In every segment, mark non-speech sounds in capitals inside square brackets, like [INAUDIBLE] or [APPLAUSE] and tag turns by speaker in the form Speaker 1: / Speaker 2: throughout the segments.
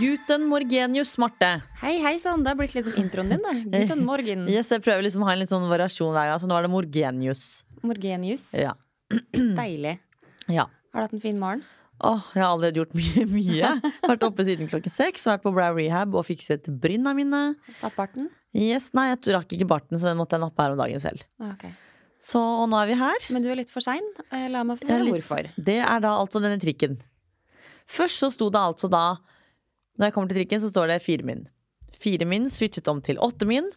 Speaker 1: Guten morgenius, Marte.
Speaker 2: Hei, hei sann. Det har blitt liksom introen din, det. Guten morgen.
Speaker 1: Yes, jeg prøver liksom å ha en litt sånn variasjon hver gang. Så nå er det morgenius.
Speaker 2: Morgenius.
Speaker 1: Ja.
Speaker 2: Mm.
Speaker 1: Mm.
Speaker 2: Deilig.
Speaker 1: ja.
Speaker 2: Har du hatt en fin morgen?
Speaker 1: Åh, jeg har allerede gjort mye. [LAUGHS] mye Vært oppe siden klokken seks, vært på Brow Rehab og fikset brynna mine.
Speaker 2: Tatt barten?
Speaker 1: Yes, Nei, jeg rakk ikke barten, så den måtte jeg nappe her om dagen selv.
Speaker 2: Ah, Ok.
Speaker 1: Så og nå er vi her.
Speaker 2: Men du er litt for sein. Eh, La meg få
Speaker 1: Jeg er
Speaker 2: høre
Speaker 1: litt-
Speaker 2: hvorfor.
Speaker 1: Det er da altså denne trikken. Først så sto det altså da Når jeg kommer til trikken, så står det fire min. Fire min switchet om til åtte min.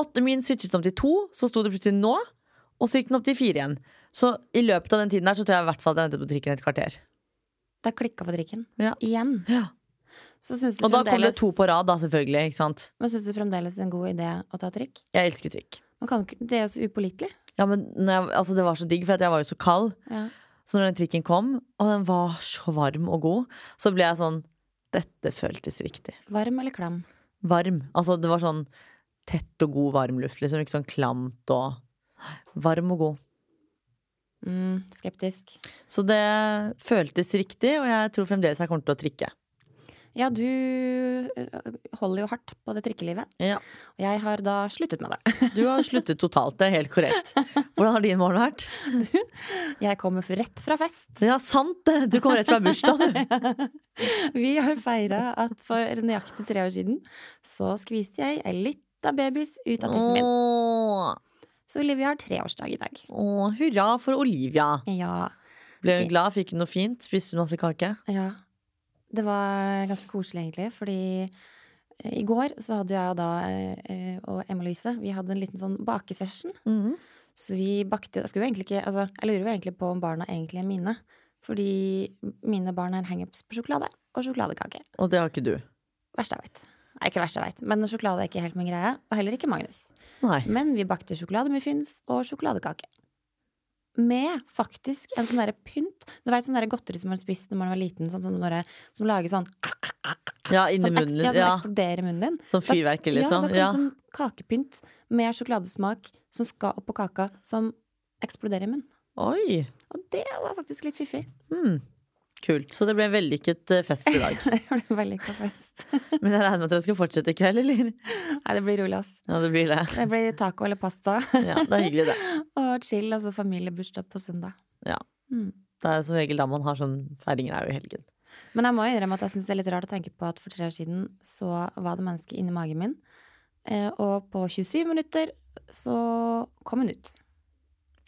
Speaker 1: Åtte min switchet om til to, så sto det plutselig nå. Og så gikk den opp til fire igjen. Så i løpet av den tiden der så tror jeg i hvert fall at jeg ventet på trikken et kvarter.
Speaker 2: Det har klikka på trikken.
Speaker 1: Ja.
Speaker 2: Igjen.
Speaker 1: Ja.
Speaker 2: Så syns du,
Speaker 1: Og da kom det
Speaker 2: fremdeles-
Speaker 1: to på rad, da, selvfølgelig. ikke sant?
Speaker 2: Men syns du fremdeles det er en god idé å ta trikk?
Speaker 1: Jeg elsker trikk.
Speaker 2: Man kan jo ikke, det er jo så upålitelig.
Speaker 1: Ja, men når jeg, altså, det var så digg, for at jeg var jo så kald.
Speaker 2: Ja.
Speaker 1: Så når den trikken kom, og den var så varm og god, så ble jeg sånn Dette føltes riktig.
Speaker 2: Varm eller klam?
Speaker 1: varm. Altså det var sånn tett og god varm luft, liksom. Ikke sånn klamt og Varm og god.
Speaker 2: Mm, skeptisk.
Speaker 1: Så det føltes riktig, og jeg tror fremdeles jeg kommer til å trikke.
Speaker 2: Ja, du eh, holder jo hardt på det trikkelivet.
Speaker 1: Ja.
Speaker 2: Og jeg har da sluttet med det.
Speaker 1: Du har sluttet totalt, det er helt korrekt. Hvordan har din morgen vært?
Speaker 2: Jeg kommer rett fra fest.
Speaker 1: Ja, sant det! Du kom rett fra bursdag,
Speaker 2: [LAUGHS]
Speaker 1: du.
Speaker 2: Vi har feira at for nøyaktig tre år siden så skviste jeg ei lita babys ut av tissen min.
Speaker 1: Åh,
Speaker 2: Så Olivia har treårsdag i dag.
Speaker 1: åh, hurra for Olivia.
Speaker 2: Ja,
Speaker 1: Ble hun glad? Fikk hun noe fint? Spiste hun masse kake?
Speaker 2: ja. Det var ganske koselig, egentlig, fordi eh, i går så hadde jeg da eh, eh, og Emma-Louise Vi hadde en liten sånn bakesession.
Speaker 1: Mhm.
Speaker 2: Så vi bakte jeg, skulle jo egentlig ikke, altså, jeg lurer jo egentlig på om barna egentlig er mine. Fordi mine barn har hangups på sjokolade og sjokoladekake.
Speaker 1: Og det har ikke du.
Speaker 2: Verst jeg veit. Nei, ikke verst jeg veit, men sjokolade er ikke helt min greie. Og heller ikke Magnus.
Speaker 1: Nei.
Speaker 2: Men vi bakte sjokolademuffins og sjokoladekake. Med faktisk en sånn derre pynt. Du veit sånn derre godteri som man har spist når man var liten, sånn som, når det, som lager sånn
Speaker 1: Ja, inni
Speaker 2: Som, eks,
Speaker 1: munnen.
Speaker 2: ja, som
Speaker 1: Ja,
Speaker 2: eksploderer i munnen din.
Speaker 1: som fyrverkeri,
Speaker 2: Ja, da
Speaker 1: liksom.
Speaker 2: kom
Speaker 1: Ja.
Speaker 2: det sånn kakepynt med sjokoladesmak som skal oppå kaka, som eksploderer i munnen.
Speaker 1: Oi.
Speaker 2: Og det var faktisk litt fiffig. [LAUGHS]
Speaker 1: Hmm. Kult. Så det ble en vellykket eh, fest i dag.
Speaker 2: Det ble veldig kapast.
Speaker 1: Men jeg regner med at dere skal fortsette i kveld, eller?
Speaker 2: Nei, det blir rolig, ass.
Speaker 1: Ja, det blir
Speaker 2: [LAUGHS]
Speaker 1: det.
Speaker 2: Det blir taco eller pasta [LAUGHS]
Speaker 1: Ja, det er hyggelig, det.
Speaker 2: og chill, altså familiebursdag på søndag.
Speaker 1: Ja.
Speaker 2: Mm.
Speaker 1: Det er som regel da man har sånn feiringer er jo i helgen.
Speaker 2: Men jeg må jo innrømme at jeg syns det er litt rart å tenke på at for tre år siden så var det menneske inni magen min, eh, og på 27 minutter så kom hun ut.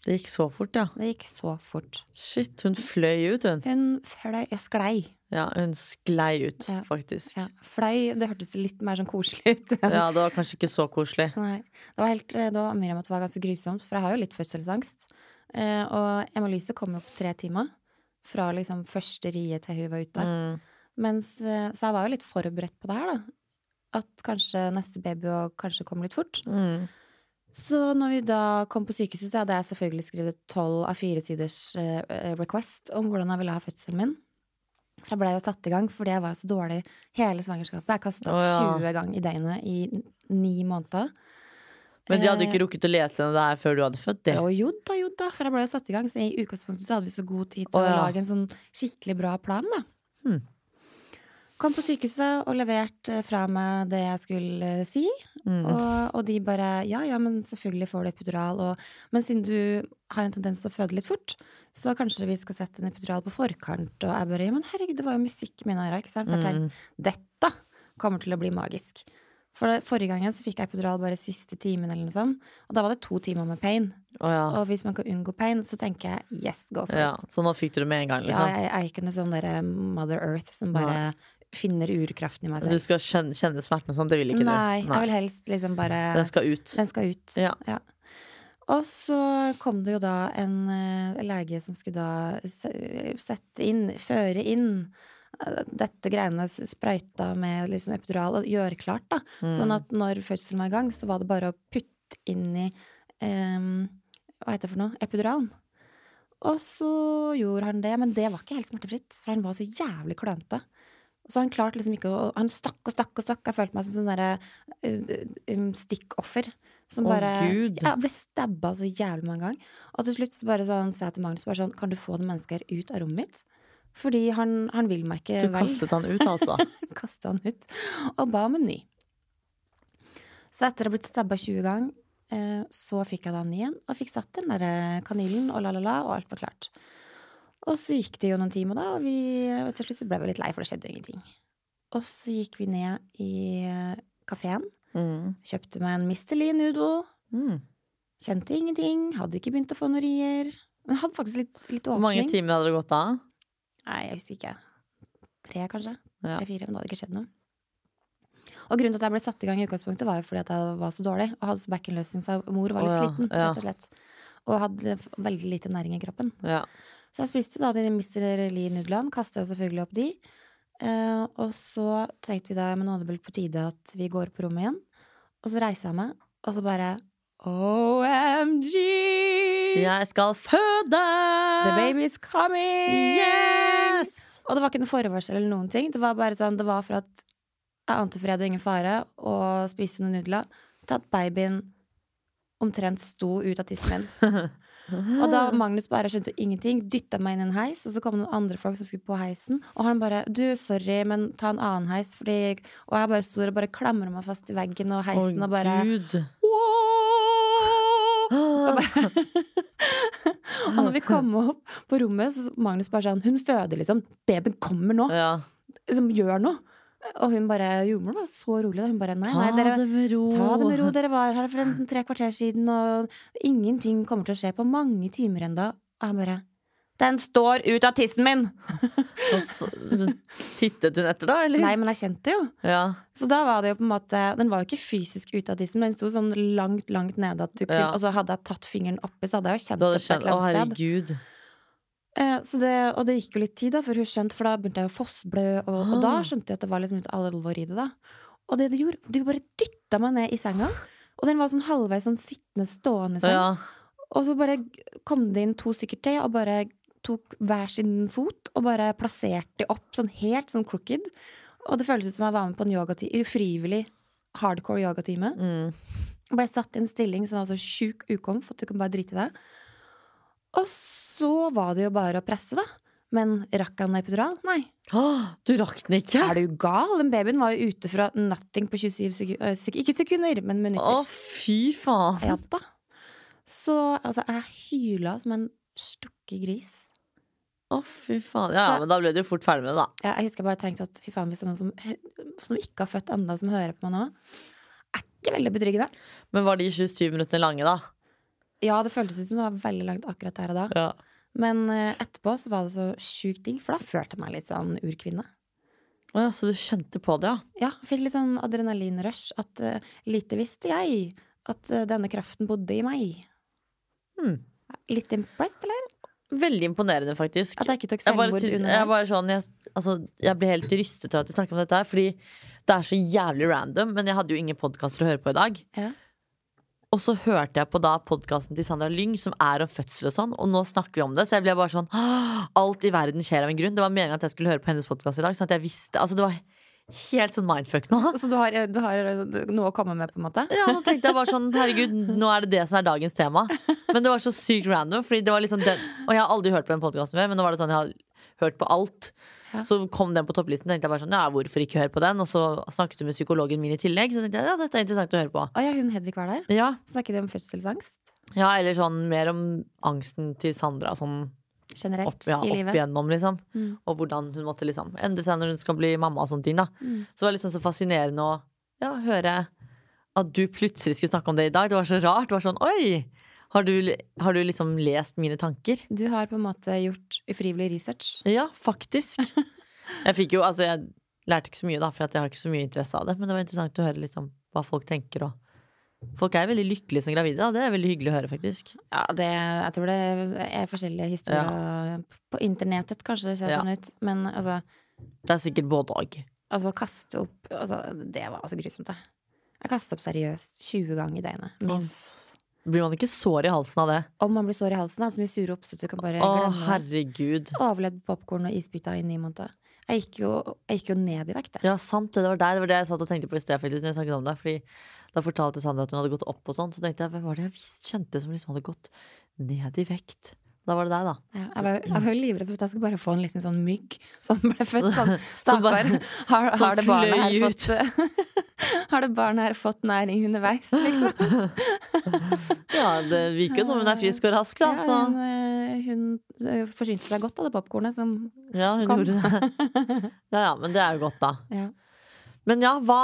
Speaker 1: Det gikk så fort, ja.
Speaker 2: Det gikk så fort.
Speaker 1: Shit, hun fløy ut, hun.
Speaker 2: Hun fløy jeg sklei.
Speaker 1: Ja, hun sklei ut,
Speaker 2: Ja.
Speaker 1: faktisk.
Speaker 2: Ja, fløy, det hørtes litt mer sånn koselig ut.
Speaker 1: Ja, det var kanskje ikke så koselig.
Speaker 2: Nei. Det var helt, eh, det var mer om at det var ganske grusomt, for jeg har jo litt fødselsangst. Eh, og Emma-Lyse kom jo på tre timer, fra liksom første riet til hun var ute.
Speaker 1: Mm.
Speaker 2: Mens, eh, så jeg var jo litt forberedt på det her, da. At kanskje neste baby og kanskje kom litt fort.
Speaker 1: Mm.
Speaker 2: Så når vi da kom på sykehuset, så hadde jeg selvfølgelig skrevet tolv av fire siders eh, eh, request om hvordan jeg ville ha fødselen min. For jeg blei jo satt i gang fordi jeg var så dårlig hele svangerskapet. Jeg kasta
Speaker 1: Å, ja.
Speaker 2: 20 ganger i døgnet i n- ni måneder.
Speaker 1: Men de hadde jo
Speaker 2: Eh,
Speaker 1: ikke rukket å lese henne det her før du hadde født det.
Speaker 2: Og jo da, jo da, for jeg ble jo satt i gang. Så i utgangspunktet så hadde vi så god tid til
Speaker 1: Å, ja.
Speaker 2: å lage en sånn skikkelig bra plan, da.
Speaker 1: Hmm.
Speaker 2: Kom på sykehuset og leverte fra meg det jeg skulle eh, si.
Speaker 1: Mm.
Speaker 2: Og, og de bare ja, ja, men selvfølgelig får du epidural. Og, men siden du har en tendens til å føde litt fort, så kanskje vi skal sette en epidural på forkant. Og jeg bare ja, men herregud, det var jo musikk i mine ører. Ikke sant? For jeg
Speaker 1: Hmm.
Speaker 2: tenkte dette kommer til å bli magisk. For det, forrige gangen så fikk jeg epidural bare siste timen, eller noe sånt. Og da var det to timer med pain.
Speaker 1: Å ja.
Speaker 2: Og hvis man kan unngå pain, så tenker jeg yes, go for
Speaker 1: ja.
Speaker 2: it.
Speaker 1: Så nå fikk du det med en gang,
Speaker 2: Ja,
Speaker 1: liksom.
Speaker 2: jeg, jeg er ikke noe sånn derre Mother Earth som bare finner urkraften i meg
Speaker 1: Du
Speaker 2: selv.
Speaker 1: skal skjønne, kjenne smerten og sånn, det vil ikke du.
Speaker 2: Nei, jeg vil helst liksom bare
Speaker 1: Den skal ut.
Speaker 2: den skal ut.
Speaker 1: Ja.
Speaker 2: Og så kom det jo da en eh, lege som skulle da se- sette inn, føre inn eh, dette greiene s- sprøyta med liksom epidural og gjøre klart, da.
Speaker 1: Mm.
Speaker 2: Sånn at når fødselen var i gang, så var det bare å putte inn i eh, em, Hva heter det for noe? Epiduralen. Og så gjorde han det, men det var ikke helt smertefritt, for han var så jævlig klønete. Så han klarte liksom ikke å Han stakk og stakk og stakk. Jeg følte meg som sånn derre eh, um, stikkoffer. Som
Speaker 1: Å,
Speaker 2: bare
Speaker 1: Gud.
Speaker 2: Ja, ble stabba så jævlig mange ganger. Og til slutt så bare sånn, sa jeg til Magnus bare sånn Kan du få det mennesket her ut av rommet mitt? Fordi han, han vil meg ikke
Speaker 1: Du
Speaker 2: vel.
Speaker 1: kastet han ut,
Speaker 2: [LAUGHS]
Speaker 1: altså.
Speaker 2: Kastet han ut. Og ba om en ny. Så etter å ha blitt stabba 20 ganger, eh, så fikk jeg da en ny en. Og fikk satt den derre kanylen og la-la-la, og alt var klart. Og så gikk det jo noen timer, da, og vi, og til slutt så ble vi litt lei, for det skjedde jo ingenting. Og så gikk vi ned i kafeen,
Speaker 1: Mm.
Speaker 2: kjøpte meg en Mr. Lee noodle.
Speaker 1: Mm.
Speaker 2: Kjente ingenting, hadde ikke begynt å få noen rier. Men hadde faktisk litt, litt
Speaker 1: Hvor mange
Speaker 2: åpning.
Speaker 1: timer hadde det gått av?
Speaker 2: Nei, jeg husker ikke. Tre, kanskje.
Speaker 1: Ja.
Speaker 2: Tre-fire, men det hadde ikke skjedd noe. Og grunnen til at jeg ble satt i gang i utgangspunktet, var jo fordi at jeg var så dårlig. Og hadde så bekkenløsning, så mor var litt
Speaker 1: Å, ja.
Speaker 2: sliten,
Speaker 1: Ja.
Speaker 2: rett og slett. Og hadde f- veldig lite næring i kroppen.
Speaker 1: Ja.
Speaker 2: Så jeg spiste da de Mr. Lee-nudlene, kastet jo selvfølgelig opp de. Eh, og så tenkte vi da, men nå er det vel på tide at vi går på rommet igjen. Og så reiser jeg meg, og så bare OMG!
Speaker 1: Jeg skal føde!
Speaker 2: The baby's coming!
Speaker 1: Yes!
Speaker 2: Og det var ikke noe forvarsel eller noen ting. Det var bare sånn, det var for at jeg ante fred og ingen fare, og spiste noen nudler, til at babyen omtrent sto ut av tissen min. Og da Magnus bare skjønte ingenting, dytta meg inn i en heis, og så kom det noen andre folk som skulle på heisen, og han bare 'Du, sorry, men ta en annen heis', fordi Og jeg bare står og bare klamrer meg fast i veggen og heisen og bare
Speaker 1: Å,
Speaker 2: [LAUGHS]
Speaker 1: Gud.
Speaker 2: «Wow!»
Speaker 1: Ah.
Speaker 2: Og når
Speaker 1: [LAUGHS]
Speaker 2: vi kom opp på rommet, så Magnus bare sånn 'Hun føder, liksom. Babyen kommer nå.'
Speaker 1: Ja.
Speaker 2: liksom, gjør noe. Og hun bare, jordmoren var så rolig da. Hun bare, nei,
Speaker 1: Ta
Speaker 2: nei, dere,
Speaker 1: det med ro.
Speaker 2: ta det med ro. Dere var her for en tre kvarter siden, og ingenting kommer til å skje på mange timer enda. Og han bare, den står ut av tissen min!
Speaker 1: Og så, tittet hun etter, da, eller?
Speaker 2: Nei, men jeg kjente jo.
Speaker 1: Ja.
Speaker 2: Så da var det jo på en måte, den var jo ikke fysisk ut av tissen, men den sto sånn langt, langt nede. At du kunne,
Speaker 1: Ja.
Speaker 2: Og så hadde jeg tatt fingeren oppi, så hadde jeg jo kjent
Speaker 1: Du
Speaker 2: det
Speaker 1: hadde
Speaker 2: på et
Speaker 1: skjønt Å,
Speaker 2: eller annet sted.
Speaker 1: herregud.
Speaker 2: Eh, så det, og det gikk jo litt tid da, før hun skjønte, for da begynte jeg å fossblø, og, og da
Speaker 1: Ah.
Speaker 2: skjønte jeg at det var liksom litt all alvor i det da. Og det det gjorde, de bare dytta meg ned i senga, og den var sånn halvveis sånn sittende, stående seng.
Speaker 1: Ja.
Speaker 2: Og så bare kom det inn to stykker til, og bare tok hver sin fot, og bare plasserte de opp sånn helt sånn crooked. Og det føltes ut som jeg var med på en yogatime, ufrivillig hardcore yogatime.
Speaker 1: Mm.
Speaker 2: Ble satt i en stilling som var så sjuk ukomf at du kan bare drite i det. Og så var det jo bare å presse, da. Men rakk han epidural? Nei.
Speaker 1: Å, Du rakk den ikke?
Speaker 2: Er du gal? Den babyen var jo ute fra nothing på 27 sekunder. Ikke sekunder, men
Speaker 1: Å,
Speaker 2: minutter.
Speaker 1: fy faen.
Speaker 2: Ja da. Så altså, jeg hyla som en stukket gris.
Speaker 1: Å, fy faen. Ja,
Speaker 2: Så-
Speaker 1: men da ble du jo fort ferdig med det, da.
Speaker 2: Ja, jeg husker jeg bare tenkte at fy faen, hvis det er noen som, som ikke har født ennå, som hører på meg nå, er ikke veldig betryggende.
Speaker 1: Men var de 27 minuttene lange, da?
Speaker 2: Ja, det føltes ut som det var veldig langt akkurat der og da.
Speaker 1: Ja.
Speaker 2: Men eh, etterpå så var det så sjukt digg, for da følte jeg meg litt sånn urkvinne.
Speaker 1: Å ja, så du kjente på det, ja.
Speaker 2: Ja, jeg fikk litt sånn adrenalinrush. At eh, lite visste jeg at eh, denne kraften bodde i meg.
Speaker 1: Hmm.
Speaker 2: Litt impressed, eller?
Speaker 1: Veldig imponerende, faktisk.
Speaker 2: At jeg ikke tok
Speaker 1: Jeg bare,
Speaker 2: selvmord
Speaker 1: sy-
Speaker 2: underveis.
Speaker 1: jeg bare sånn jeg, altså, jeg blir helt rystet av at vi snakker om dette her, fordi det er så jævlig random. Men jeg hadde jo ingen podkaster å høre på i dag.
Speaker 2: Ja.
Speaker 1: Og så hørte jeg på da podkasten til Sandra Lyng, som er om fødsel og sånn, og nå snakker vi om det, så jeg ble bare sånn «Åh, Alt i verden skjer av en grunn. Det var meningen at jeg skulle høre på hennes podkast i dag, sånn at jeg visste Altså, det var helt sånn mindfuck nå.
Speaker 2: Så du har, eh, du har noe å komme med, på en måte?
Speaker 1: Ja, nå tenkte jeg bare sånn, herregud, nå er det det som er dagens tema. Men det var så sykt random, fordi det var liksom den, og jeg har aldri hørt på den podkasten før, men nå var det sånn, jeg har hørt på alt.
Speaker 2: Ja.
Speaker 1: Så kom den på topplisten, tenkte jeg bare sånn, ja, hvorfor ikke høre på den? Og så snakket du med psykologen min i tillegg, så tenkte jeg, ja, dette er interessant å høre på.
Speaker 2: Å ja, hun Hedvig var der.
Speaker 1: Ja,
Speaker 2: Snakket de om fødselsangst
Speaker 1: ja eller sånn mer om angsten til Sandra, sånn
Speaker 2: generelt
Speaker 1: opp, ja, opp
Speaker 2: i livet?
Speaker 1: igjennom, liksom.
Speaker 2: Mm.
Speaker 1: Og hvordan hun måtte liksom endre seg når hun skal bli mamma og sånne ting, da.
Speaker 2: Mm.
Speaker 1: Så det var liksom så fascinerende å ja, høre at du plutselig skulle snakke om det i dag. Det var så rart. Det var sånn oi! Har du, har du liksom lest mine tanker?
Speaker 2: Du har på en måte gjort ufrivillig research.
Speaker 1: Ja, faktisk. Jeg fikk jo, altså jeg lærte ikke så mye, da, for at jeg har ikke så mye interesse av det. Men det var interessant å høre liksom hva folk tenker og Folk er veldig lykkelige som gravide, da. Det er veldig hyggelig å høre, faktisk.
Speaker 2: Ja, det, jeg tror det er forskjellige historier på internettet, kanskje det ser
Speaker 1: Ja.
Speaker 2: sånn ut. Men altså,
Speaker 1: Det er sikkert både og.
Speaker 2: altså kaste opp altså, Det var altså grusomt, det. Jeg kastet opp seriøst 20 ganger i døgnet. Minst.
Speaker 1: Blir man ikke sår i halsen av det?
Speaker 2: Om man blir sår i halsen, da, så mye sure oppstøt du kan bare
Speaker 1: Å,
Speaker 2: glemme. det.
Speaker 1: herregud.
Speaker 2: Overlevd popkorn og isbiter i ni måneder. Jeg gikk jo, jeg gikk jo ned i vekt, jeg.
Speaker 1: Ja, sant det. Det var deg. Det var det jeg satt og tenkte på i sted. faktisk, når jeg snakket om det. Fordi Da fortalte Sandra at hun hadde gått opp, og sånn, så tenkte jeg hvem var det jeg visst kjente som liksom hadde gått ned i vekt. Da var det deg, da.
Speaker 2: Ja, jeg, var, jeg var jo livredd for at jeg skulle bare få en liten sånn mygg som ble
Speaker 1: [LAUGHS]
Speaker 2: født. Sånn,
Speaker 1: Som bare-
Speaker 2: Stakkar. Har,
Speaker 1: som
Speaker 2: har det barnet her
Speaker 1: fløy ut.
Speaker 2: fått [LAUGHS] Har det barnet her fått næring underveis, liksom?
Speaker 1: Ja, Det virker jo som hun er frisk og rask, da.
Speaker 2: Ja,
Speaker 1: Så
Speaker 2: hun, eh, hun eh, forsynte seg godt av det popkornet som
Speaker 1: ja, hun
Speaker 2: Kom.
Speaker 1: gjorde det. [LAUGHS] Ja, ja, men det er jo godt, da.
Speaker 2: ja.
Speaker 1: Men ja, hva,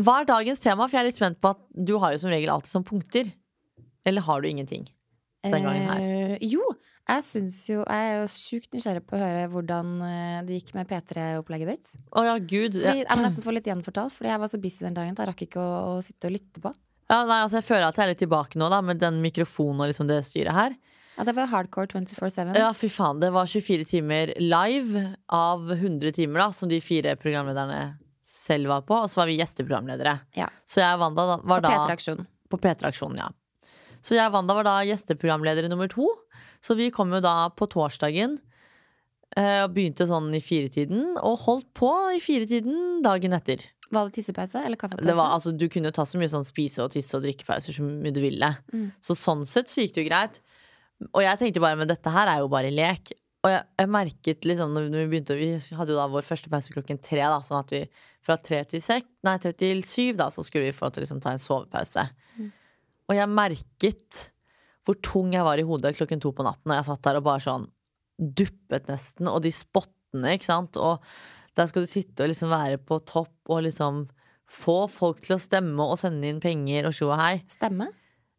Speaker 1: hva er dagens tema? For jeg er litt spent på at du har jo som regel alltid som punkter. Eller har du ingenting? Den gangen
Speaker 2: Eh, jo, jeg syns jo Jeg er jo sjukt nysgjerrig på å høre hvordan eh, det gikk med P3-opplegget ditt.
Speaker 1: Å ja, gud.
Speaker 2: Fordi,
Speaker 1: Jeg,
Speaker 2: jeg må nesten få litt gjenfortalt, fordi jeg var så busy den dagen at jeg rakk ikke å, å sitte og lytte på.
Speaker 1: [CLEARS THROAT] ja, nei, altså, jeg føler at jeg er litt tilbake nå, da, med den mikrofonen og liksom det styret her.
Speaker 2: Ja, det var hardcore 24-7.
Speaker 1: Ja, fy faen. Det var 24 timer live av 100 timer da, som de fire programlederne selv var på. Og så var vi gjesteprogramledere.
Speaker 2: Ja.
Speaker 1: Så jeg og Wanda da,
Speaker 2: og
Speaker 1: var da
Speaker 2: P3-aksjonen.
Speaker 1: på P3-aksjonen, ja. Så jeg og Wanda var da gjesteprogramledere nummer to. Så vi kom jo da på torsdagen eh, og begynte sånn i firetiden, og holdt på i firetiden dagen etter.
Speaker 2: Var det tissepause eller kaffepause?
Speaker 1: Det var, altså, du kunne jo ta så mye sånn spise- og tisse- og drikkepauser som mye du ville.
Speaker 2: Mm.
Speaker 1: Så sånn sett så gikk det jo greit. Og jeg tenkte bare, men dette her er jo bare lek. Og jeg, jeg merket liksom, når når vi begynte, vi hadde jo da vår første pause klokken tre, da, sånn at vi fra tre til seks, nei, tre til syv, da, så skulle vi få til å liksom, ta en sovepause. Og jeg merket hvor tung jeg var i hodet klokken to på natten, og jeg satt der og bare sånn duppet nesten, og de spottene, ikke sant, og der skal du sitte og liksom være på topp og liksom få folk til å stemme og sende inn penger og tjo og hei.
Speaker 2: Stemme?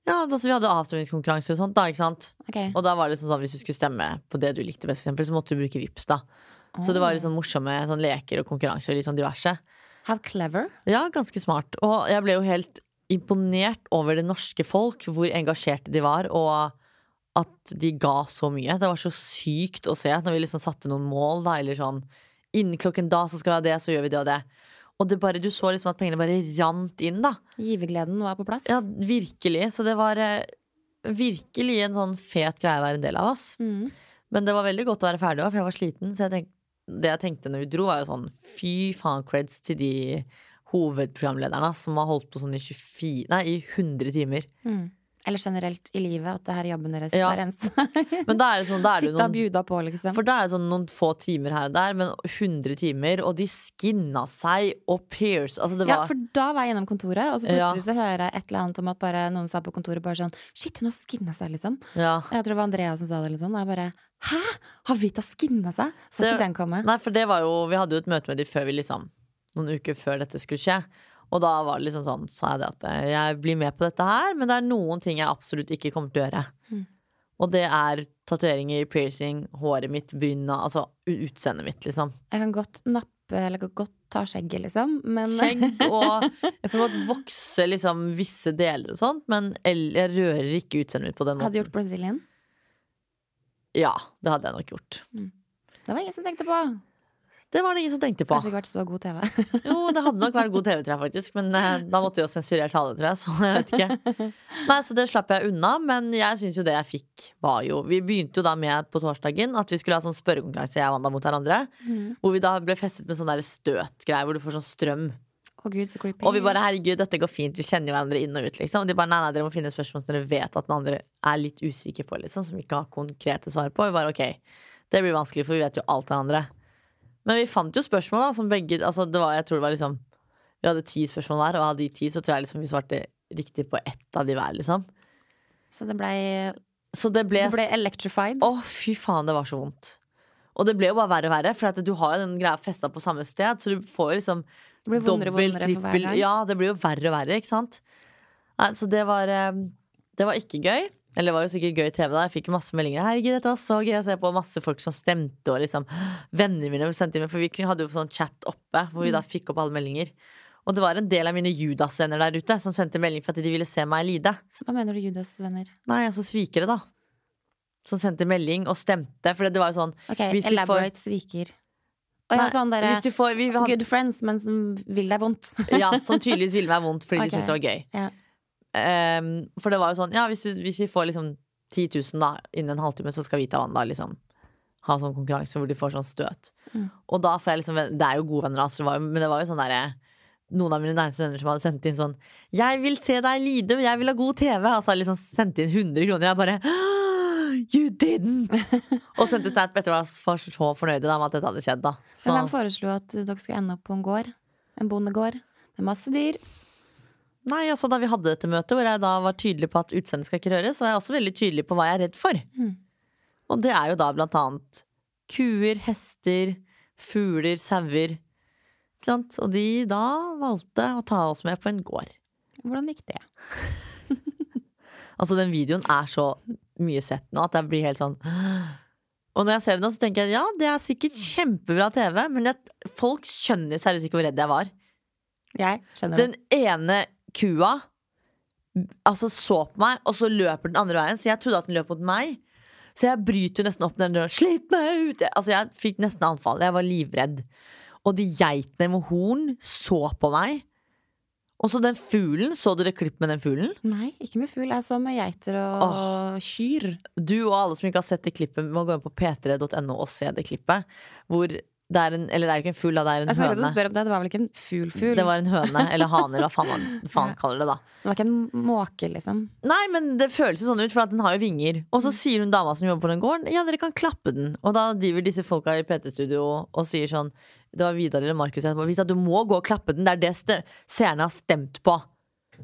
Speaker 1: Ja, da, så vi hadde avstemningskonkurranse og sånt, da, ikke sant?
Speaker 2: Ok.
Speaker 1: Og da var det liksom sånn hvis du skulle stemme på det du likte best, for eksempel, så måtte du bruke VIPs da. Så det var liksom morsomme sånn leker og konkurranser og litt sånn diverse.
Speaker 2: How clever.
Speaker 1: Ja, ganske smart. Og jeg ble jo helt imponert over det norske folk, hvor engasjerte de var, og at de ga så mye. Det var så sykt å se når vi liksom satte noen mål, da, eller sånn Innen klokken da så skal vi ha det, så gjør vi det og det. Og det bare, du så liksom at pengene bare rant inn, da.
Speaker 2: Givergleden var på plass.
Speaker 1: Ja, virkelig. Så det var eh, virkelig en sånn fet greie å være en del av, ass.
Speaker 2: Mm.
Speaker 1: Men det var veldig godt å være ferdig òg, for jeg var sliten. Så jeg tenk, det jeg tenkte når vi dro, var jo sånn fy faen creds til de hovedprogramlederne ass, som har holdt på sånn i 24 Nei, i 100 timer.
Speaker 2: Mm. Eller generelt i livet, at det her er jobben deres
Speaker 1: Ja.
Speaker 2: hver eneste.
Speaker 1: Men da er det sånn, da er det jo
Speaker 2: Sitte og
Speaker 1: noen
Speaker 2: bjuda på, liksom.
Speaker 1: For da er det sånn noen få timer her og der, men 100 timer, og de skinna seg og pierce Altså, det
Speaker 2: Ja,
Speaker 1: var
Speaker 2: for da var jeg gjennom kontoret, og så
Speaker 1: Ja.
Speaker 2: plutselig så hører jeg et eller annet om at bare noen sa på kontoret bare sånn Shit, hun har skinna seg, liksom.
Speaker 1: ja.
Speaker 2: Jeg tror det var Andrea som sa det, eller sånn. Og jeg bare Hæ? Har Vita skinna seg? Så
Speaker 1: Det-
Speaker 2: ikke den komme.
Speaker 1: Nei, for det var jo Vi hadde jo et møte med de før vi liksom Noen uker før dette skulle skje Og da var det liksom sånn Sa jeg det at eh, Jeg blir med på dette her Men det er noen ting jeg absolutt ikke kommer til å gjøre
Speaker 2: Mm.
Speaker 1: Og det er tatueringer, piercing, håret mitt, bryna Altså u- utseendet mitt liksom
Speaker 2: Jeg kan godt nappe, eller kan godt ta skjegget, liksom. Men
Speaker 1: Skjegg og Jeg kan godt vokse liksom visse deler og sånt Men el- jeg rører ikke utseendet mitt på den måten
Speaker 2: [LAUGHS] hadde du gjort Brazilian.
Speaker 1: Ja, det hadde jeg nok gjort
Speaker 2: Det var ingen som tenkte på.
Speaker 1: Det var det ingen som tenkte på
Speaker 2: Kanskje ikke vært så god
Speaker 1: [LAUGHS]
Speaker 2: TV.
Speaker 1: Jo, det hadde nok vært god TV, tror jeg faktisk. Men eh, da måtte vi jo sensurert alle, tror jeg. Så jeg vet ikke. Nei, så det slapp jeg unna. Men jeg syns jo det jeg fikk, var jo Vi begynte jo da med på torsdagen at vi skulle ha sånn spørrekonkurranse, jeg og Wanda, mot hverandre. Hvor vi da ble festet med sånn der støtgreier hvor du får sånn strøm.
Speaker 2: Å gud, så creepy.
Speaker 1: Og vi bare 'herregud, dette går fint', vi kjenner jo hverandre inn og ut, liksom. Og de bare 'nei, nei, dere må finne spørsmål som dere vet at den andre er litt usikker på', liksom. Som vi ikke har konkrete svar på. Og vi bare 'ok, det blir vanskelig, for vi vet jo alt hverandre'. Men vi fant jo spørsmål, da, som begge Altså, det var, jeg tror det var liksom Vi hadde ti spørsmål hver, og av de ti så tror jeg liksom vi svarte riktig på ett av de hver, liksom.
Speaker 2: Så det blei
Speaker 1: Så det ble
Speaker 2: Du ble electrified.
Speaker 1: Å, fy faen, det var så vondt. Og det ble jo bare verre og verre, for at du har jo den greia festa på samme sted, så du får jo liksom
Speaker 2: Det blir vondere og
Speaker 1: dobbel,
Speaker 2: vondere for hver
Speaker 1: trippel-
Speaker 2: gang.
Speaker 1: Ja, det blir jo verre og verre, ikke sant? Nei, så det var eh, Det var ikke gøy. Eller det var jo sikkert gøy i TV, da. Jeg fikk jo masse meldinger. Herregud, dette var så gøy å se på. Og masse folk som stemte, og liksom Vennene mine sendte inn For vi kunne- hadde jo sånn chat oppe, hvor vi da
Speaker 2: Mm.
Speaker 1: fikk opp alle meldinger. Og det var en del av mine Judas-venner der ute som sendte melding for at de ville se meg lide.
Speaker 2: Hva mener du, Judas venner?
Speaker 1: Nei, altså svikere, da. Som sendte melding og stemte. For det var jo sånn
Speaker 2: Ok,
Speaker 1: Hvis de får-
Speaker 2: elaborate sviker. Og ja,
Speaker 1: Nei,
Speaker 2: sånn dere
Speaker 1: Hvis du får, vi hadde,
Speaker 2: Good friends, men som vil deg vondt.
Speaker 1: [LAUGHS] ja, som tydeligvis ville meg vondt fordi
Speaker 2: Ok.
Speaker 1: de syntes det var gøy.
Speaker 2: Ja.
Speaker 1: Ehm, for det var jo sånn, ja, hvis, du, hvis vi får liksom 10 000 da, innen en halvtime, så skal vi ta Wanda liksom ha sånn konkurranse hvor de får sånn støt.
Speaker 2: Mm.
Speaker 1: Og da får jeg liksom ven- Det er jo gode venner, altså, det var jo- men det var jo sånn derre noen av mine nærmeste venner som hadde sendt inn sånn 'Jeg vil se deg lide, og jeg vil ha god TV'. Altså liksom sendt inn 100 kroner. Jeg bare «Åh, you
Speaker 2: [LAUGHS]
Speaker 1: didn't! Og sendte snap etter og var så fornøyd da, med at dette hadde skjedd. da så,
Speaker 2: Men hvem foreslo at dere skulle ende opp på en gård? En bondegård? Med masse dyr?
Speaker 1: Nei, altså Da vi hadde dette møtet, hvor jeg da var tydelig på at utseendet skal ikke røres, var jeg også veldig tydelig på hva jeg er redd for.
Speaker 2: Mm.
Speaker 1: Og det er jo da blant annet kuer, hester, fugler, sauer. Ikke sant? Og de da valgte å ta oss med på en gård.
Speaker 2: Hvordan gikk det?
Speaker 1: Altså, den videoen er så mye sett nå at jeg blir helt sånn Og når jeg ser det nå, så tenker jeg ja, det er sikkert kjempebra TV, men jeg, folk skjønner seriøst ikke hvor redd jeg var.
Speaker 2: Jeg skjønner det.
Speaker 1: Den ene kua altså så på meg, og så løper den andre veien, så jeg trodde at den løp mot meg. Så jeg bryter jo nesten opp den døra. Slipp meg ut! Jeg, altså jeg fikk nesten anfall. Jeg var livredd. Og de geitene med horn så på meg. Og så den fuglen. Så du det klippet med den fuglen?
Speaker 2: Nei, ikke med fugl. Jeg så med geiter og
Speaker 1: Åh.
Speaker 2: kyr.
Speaker 1: Du og alle som ikke har sett det klippet, må gå inn på p3.no og se det klippet. Hvor det er en Eller det er jo ikke en fugl, da. Det er
Speaker 2: Jeg
Speaker 1: en
Speaker 2: skal ikke
Speaker 1: høne.
Speaker 2: spørre om det. Det var vel ikke en fugl-fugl?
Speaker 1: Det var en høne, eller hane, eller hva faen man faen kaller det, da.
Speaker 2: det var ikke en måke, liksom.
Speaker 1: Nei, men det føles jo sånn ut, for at den har jo vinger. Og så sier hun dama som jobber på den gården, ja, dere kan klappe den. Og da driver disse folka i PT-studio og sier sånn, det var Vidar eller Markus jeg bare, Vita, du må gå og klappe den, det er det ste- seerne har stemt på.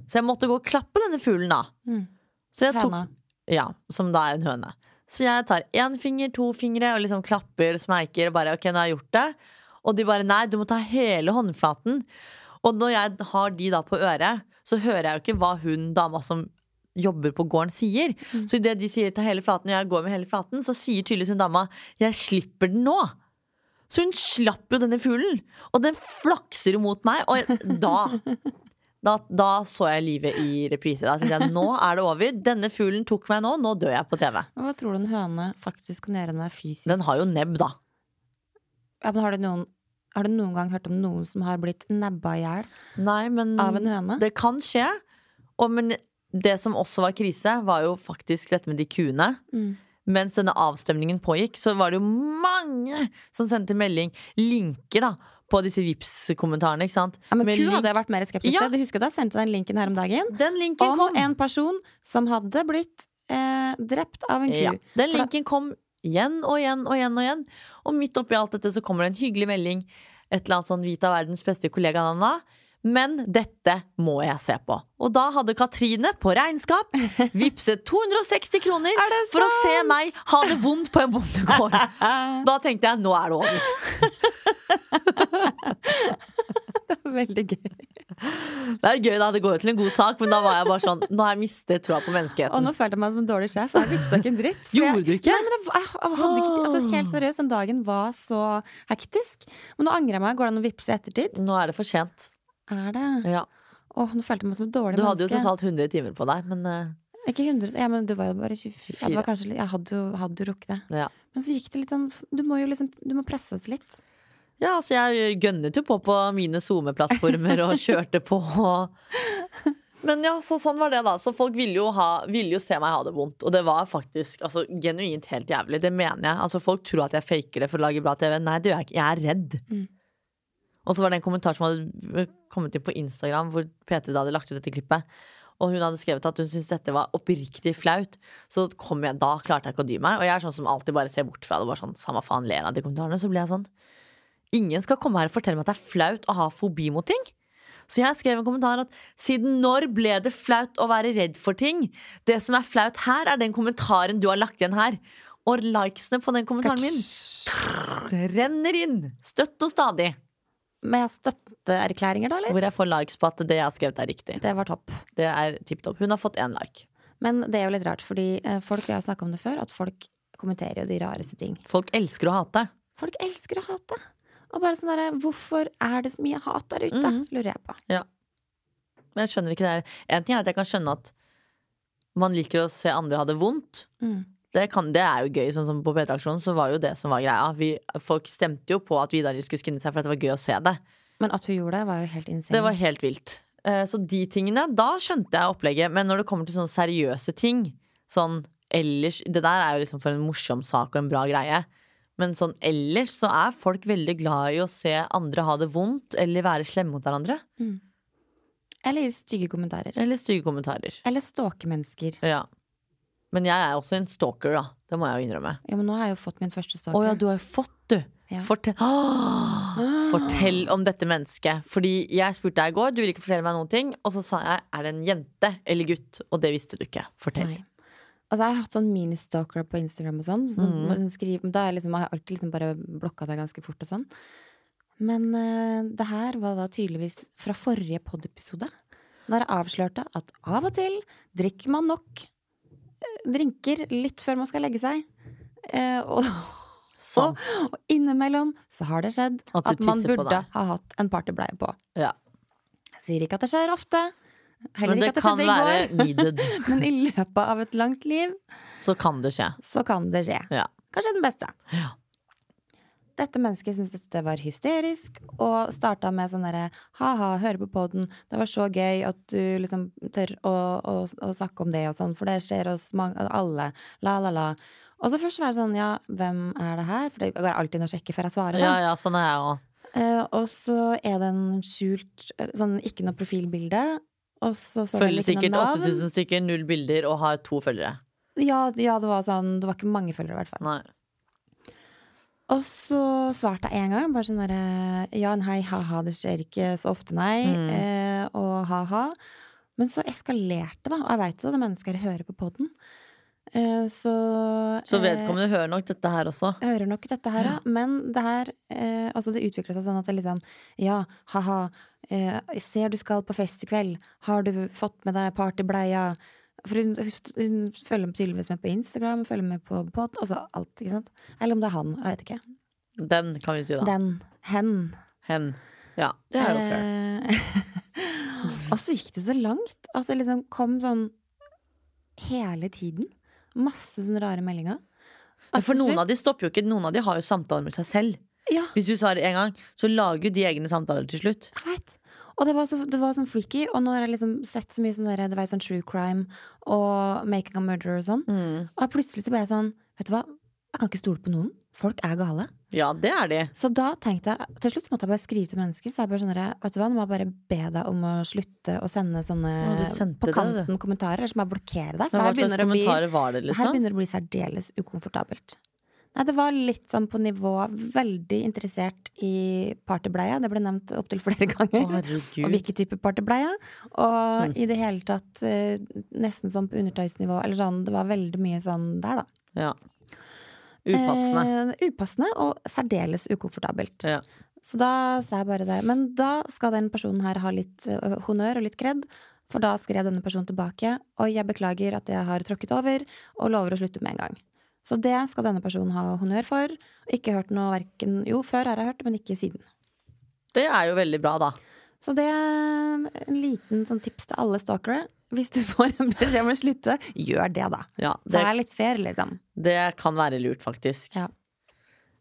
Speaker 1: Så jeg måtte gå og klappe denne fuglen, da.
Speaker 2: Mm.
Speaker 1: Så jeg tok,
Speaker 2: Høna.
Speaker 1: ja, som da er en høne. Så jeg tar én finger, to fingre og liksom klapper smeiker og bare OK, nå har jeg gjort det. Og de bare nei, du må ta hele håndflaten. Og når jeg har de da på øret, så hører jeg jo ikke hva hun dama som jobber på gården sier. Så idet de sier ta hele flaten, og jeg går med hele flaten, så sier tydeligvis hun dama jeg slipper den nå. Så hun slapp jo denne fuglen, og den flakser jo mot meg. Og jeg- da da, da så jeg livet i reprise. Da tenkte jeg nå er det over. Denne fuglen tok meg nå, nå dør jeg på TV.
Speaker 2: Men Hva tror du en høne faktisk kan gjøre med deg fysisk?
Speaker 1: Den har jo nebb, da.
Speaker 2: ja, men har, du noen, har du noen gang hørt om noen som har blitt nebba i hjel
Speaker 1: Nei, men
Speaker 2: av en høne?
Speaker 1: Mm, det kan skje. Og, men det som også var krise, var jo faktisk dette med de kuene.
Speaker 2: Mm.
Speaker 1: Mens denne avstemningen pågikk, så var det jo mange som sendte melding. Linker, da. På disse Vipps-kommentarene, ikke sant.
Speaker 2: Ja, men
Speaker 1: Med
Speaker 2: ku hadde
Speaker 1: link-
Speaker 2: jeg vært mer skeptisk
Speaker 1: Ja.
Speaker 2: til. Du husker da jeg sendte deg den linken her om dagen?
Speaker 1: Den linken
Speaker 2: Om
Speaker 1: kom.
Speaker 2: en person som hadde blitt eh, drept av en ku.
Speaker 1: Ja. Den
Speaker 2: For da-
Speaker 1: linken kom igjen og igjen og igjen og igjen. Og midt oppi alt dette så kommer det en hyggelig melding. Et eller annet sånn Vita verdens beste kollega, Nanna. Men dette må jeg se på. Og da hadde Katrine på regnskap vippset 260 kroner
Speaker 2: Er det
Speaker 1: for å se meg ha det vondt på en bondegård.
Speaker 2: Ah,
Speaker 1: Da tenkte jeg nå er det over.
Speaker 2: [LAUGHS] veldig gøy.
Speaker 1: Det er gøy da, det går jo til en god sak, men da var jeg bare sånn Nå har jeg mistet troa på
Speaker 2: Og
Speaker 1: menneskeheten.
Speaker 2: nå følte jeg meg som en dårlig sjef. Jeg visste ikke en dritt. for
Speaker 1: Gjorde
Speaker 2: jeg-
Speaker 1: du ikke? Ah.
Speaker 2: Nei, men det, var- jeg hadde ikke altså, Helt seriøst, den dagen var så hektisk. Men nå angrer jeg meg. Går det an å vippse i ettertid?
Speaker 1: Nå er det for sent.
Speaker 2: Er det?
Speaker 1: Ja.
Speaker 2: Åh, nå følte jeg meg som et dårlig
Speaker 1: Du hadde jo
Speaker 2: menneske.
Speaker 1: tross alt 100 timer på deg, men eh,
Speaker 2: Ikke 100, ja, men du var jo bare 24. Ja, det var kanskje litt, jeg hadde jo, hadde jo rukket det.
Speaker 1: ja.
Speaker 2: Men så gikk det litt sånn Du må jo liksom Du må presse oss litt.
Speaker 1: Ja, altså jeg gønnet jo på på mine SoMe-plattformer og kjørte på. Men ja, så sånn var det, da. Så folk ville jo, ha, ville jo se meg ha det vondt. Og det var faktisk altså, genuint helt jævlig. Det mener jeg. Altså, folk tror at jeg faker det for å lage bra TV. Nei, det gjør jeg ikke. Jeg er redd.
Speaker 2: Mm.
Speaker 1: Og så var det en kommentar som hadde kommet inn på Instagram, hvor P3 da hadde lagt ut dette klippet. Og hun hadde skrevet at hun syntes dette var oppriktig flaut. Så kom jeg, da klarte jeg ikke å dy meg. Og jeg er sånn som alltid bare ser bort fra det. Bare sånn, samme faen ler av de kommentarene. Så ble jeg sånn Ingen skal komme her og fortelle meg at det er flaut å ha fobi mot ting. Så jeg skrev en kommentar at siden når ble det flaut å være redd for ting? Det som er flaut her, er den kommentaren du har lagt igjen her. Og likesene på den kommentaren min renner inn støtt og stadig.
Speaker 2: Med støtteerklæringer, da, eller?
Speaker 1: Hvor jeg får likes på at det jeg har skrevet, er riktig.
Speaker 2: Det var topp.
Speaker 1: Det er tipp topp. Hun har fått én like.
Speaker 2: Men det er jo litt rart, fordi eh, folk Vi har snakka om det før, at folk kommenterer jo de rareste ting.
Speaker 1: Folk elsker å hate.
Speaker 2: Folk elsker å hate. Og bare sånn derre Hvorfor er det så mye hat der ute?
Speaker 1: Mhm.
Speaker 2: Lurer jeg på.
Speaker 1: Men jeg skjønner ikke det her. En ting er at jeg kan skjønne at man liker å se andre ha det vondt.
Speaker 2: Mm.
Speaker 1: Det, kan, det er jo gøy, sånn som på P3-aksjonen så var jo det som var greia. Vi, folk stemte jo på at Vidar skulle skinne seg for at det var gøy å se det.
Speaker 2: Men at hun gjorde det, var jo helt insane.
Speaker 1: Det var helt vilt. Eh, Så de tingene, da skjønte jeg opplegget. Men når det kommer til sånne seriøse ting, sånn ellers Det der er jo liksom for en morsom sak og en bra greie. Men sånn ellers så er folk veldig glad i å se andre ha det vondt eller være slemme mot hverandre.
Speaker 2: Eller stygge kommentarer.
Speaker 1: Mm. Eller stygge kommentarer.
Speaker 2: Eller stalke mennesker.
Speaker 1: Ja. Men jeg er også en stalker, da. Det må jeg jo innrømme.
Speaker 2: Ja, men nå har jeg jo fått min første
Speaker 1: Å
Speaker 2: stalker.
Speaker 1: ja, du har jo fått, du.
Speaker 2: Ja.
Speaker 1: Fortell, [GASPS] Ah! fortell om dette mennesket. Fordi jeg spurte deg i går, du ville ikke fortelle meg noen ting. Og så sa jeg er det en jente eller gutt? Og det visste du ikke. Fortell.
Speaker 2: Nei. Altså, jeg har hatt sånn mini-stalker på Instagram og sånn. Så
Speaker 1: Mm.
Speaker 2: må liksom skrive, da har jeg liksom, har jeg alltid liksom bare blokka det ganske fort og sånn. Men eh, det her var da tydeligvis fra forrige podiepisode. Der jeg avslørte at av og til drikker man nok eh, drinker litt før man skal legge seg. Eh, og, [LAUGHS]
Speaker 1: Sånn.
Speaker 2: og innimellom så har det skjedd
Speaker 1: At
Speaker 2: at,
Speaker 1: du
Speaker 2: man
Speaker 1: tisser på
Speaker 2: burde
Speaker 1: deg.
Speaker 2: ha hatt en partybleie på.
Speaker 1: Ja.
Speaker 2: Jeg sier ikke at det skjer ofte. Heller
Speaker 1: Men det
Speaker 2: ikke at det
Speaker 1: kan
Speaker 2: skjedde i går.
Speaker 1: være [LAUGHS] needed.
Speaker 2: [LAUGHS] Men i løpet av et langt liv
Speaker 1: Så kan det skje.
Speaker 2: så kan det skje.
Speaker 1: Ja.
Speaker 2: Kanskje den beste.
Speaker 1: Ja.
Speaker 2: Dette mennesket syntes det var hysterisk, og starta med sånn derre ha-ha, høre på poden, det var så gøy at du liksom tør å, å, å snakke om det og sånn, for det skjer hos mange, alle, la, la, la. Og så først var det sånn, ja, hvem er det her? For det går alltid inn og sjekker før jeg svarer. da.
Speaker 1: ja, ja, sånn er jeg òg.
Speaker 2: Eh, og så er det en skjult, eh, sånn ikke noe profilbilde. Og så står det
Speaker 1: Følger
Speaker 2: ikke noe
Speaker 1: sikkert
Speaker 2: navn.
Speaker 1: 8000 stykker, null bilder og har to følgere.
Speaker 2: Ja, ja, det var sånn, det var ikke mange følgere i hvert fall.
Speaker 1: Nei.
Speaker 2: Og så svarte jeg en gang, bare sånn derre Ja, nei, ha-ha, det skjer ikke så ofte, nei.
Speaker 1: Mm.
Speaker 2: Eh, og ha-ha. Men så eskalerte det, og jeg veit jo at det mennesket her hører på poden. Eh, så
Speaker 1: Så
Speaker 2: eh,
Speaker 1: vedkommende hører nok dette her også.
Speaker 2: jeg hører nok dette her, ja. Men det her eh, Altså, det utvikla seg sånn at det liksom Ja, ha-ha. Eh, ser du skal på fest i kveld. Har du fått med deg partybleia? For hun, hun følger tydeligvis med på Instagram, følger med på pod, altså alt, ikke sant. Eller om det er han, jeg vet ikke.
Speaker 1: Den kan vi si, da.
Speaker 2: Den. Hen.
Speaker 1: Hen. Ja, det er jo fair.
Speaker 2: Eh, [LAUGHS] og så gikk det så langt. Altså liksom kom sånn hele tiden. Masse sånne rare meldinger.
Speaker 1: Men For noen av de stopper jo ikke. Noen av de har jo samtaler med seg selv.
Speaker 2: Ja,
Speaker 1: Hvis du svarer en gang, så lager jo de egne samtaler til slutt.
Speaker 2: jeg vet. Og det var, så, det var sånn freaky. Og nå har jeg liksom sett så mye sånn der, det var jo sånn true crime og making a murderer og sånn. Og plutselig så ble jeg sånn, vet du hva, jeg kan ikke stole på noen. Folk er gale.
Speaker 1: Ja, det er de.
Speaker 2: Så da tenkte jeg, til slutt så måtte jeg bare skrive til mennesket. Så jeg bare sånn, der, vet du hva, nå må jeg bare be deg om å slutte å sende sånne
Speaker 1: Å, du sendte
Speaker 2: på
Speaker 1: det,
Speaker 2: kanten
Speaker 1: du.
Speaker 2: kommentarer. Eller så må jeg blokkere deg.
Speaker 1: Men
Speaker 2: For
Speaker 1: hva
Speaker 2: her
Speaker 1: slags
Speaker 2: begynner, det å bli,
Speaker 1: kommentarer var det,
Speaker 2: her
Speaker 1: liksom?
Speaker 2: begynner det å bli særdeles ukomfortabelt. Nei, det var litt sånn på nivå veldig interessert i partybleia. Det ble nevnt opptil flere [LAUGHS]
Speaker 1: Å,
Speaker 2: ganger. og
Speaker 1: herregud. Mm.
Speaker 2: hvilken type partybleie. Og i det hele tatt eh, nesten sånn på undertøysnivå. Eller sånn, det var veldig mye sånn der, da.
Speaker 1: Ja. Upassende.
Speaker 2: Eh, upassende og særdeles ukomfortabelt.
Speaker 1: Ja.
Speaker 2: Så da sa jeg bare det. Men da skal den personen her ha litt eh, honnør og litt kred. For da skrev denne personen tilbake Oi, jeg beklager at jeg har tråkket over, og lover å slutte med en gang. Så det skal denne personen ha honnør for. Ikke hørt noe hverken Jo, før har jeg hørt, men ikke siden.
Speaker 1: Det er jo veldig bra, da.
Speaker 2: Så det er en liten sånn tips til alle stalkere. Hvis du [LAUGHS] får en beskjed om å slutte, gjør det, da.
Speaker 1: Ja,
Speaker 2: Det
Speaker 1: det,
Speaker 2: er litt fair, liksom.
Speaker 1: det kan være lurt, faktisk.
Speaker 2: Ja.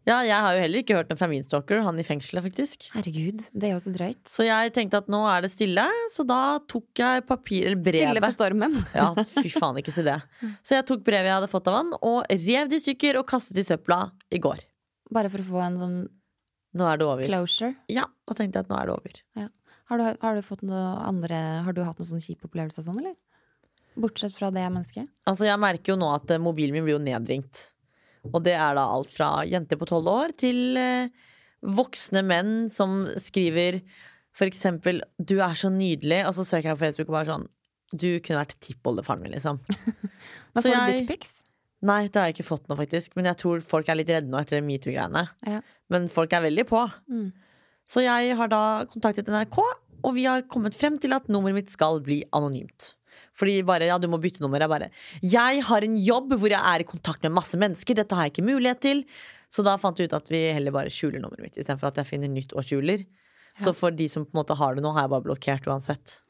Speaker 1: Ja, jeg har jo heller ikke hørt noe fra min stalker, han i fengselet, faktisk.
Speaker 2: Herregud, det er jo så drøyt.
Speaker 1: Så jeg tenkte at nå er det stille, så da tok jeg papir, eller
Speaker 2: Stille for
Speaker 1: brevet.
Speaker 2: stormen.
Speaker 1: Ja, fy faen, ikke si det.
Speaker 2: [LAUGHS]
Speaker 1: Så jeg tok brevet jeg hadde fått av han, og rev det i stykker og kastet i søpla i går.
Speaker 2: Bare for å få en sånn
Speaker 1: Nå er det over.
Speaker 2: closure.
Speaker 1: Ja, da tenkte jeg at nå er det over.
Speaker 2: Ja. Har, du, har du fått noe andre Har du hatt noen sånn kjipe opplevelser og sånn, eller? Bortsett fra det mennesket?
Speaker 1: Altså, jeg merker jo nå at eh, mobilen min blir jo nedringt. Og det er da alt fra jenter på tolv år til eh, voksne menn som skriver for eksempel 'du er så nydelig', og så søker jeg på Facebook og bare sånn 'du kunne vært tippoldefaren min', liksom.
Speaker 2: [LAUGHS] Da
Speaker 1: Så
Speaker 2: får du
Speaker 1: jeg-
Speaker 2: dickpics.
Speaker 1: Nei, det har jeg ikke fått nå, faktisk. Men jeg tror folk er litt redde nå etter det metoo-greiene.
Speaker 2: Ja.
Speaker 1: Men folk er veldig på.
Speaker 2: Mm.
Speaker 1: Så jeg har da kontaktet NRK, og vi har kommet frem til at nummeret mitt skal bli anonymt. Fordi bare, ja, du må bytte nummer. Jeg bare Jeg har en jobb hvor jeg er i kontakt med masse mennesker. Dette har jeg ikke mulighet til. Så da fant vi ut at vi heller bare skjuler nummeret mitt, istedenfor at jeg finner nytt og skjuler. Så for de som på en måte har det nå, har jeg bare blokkert uansett.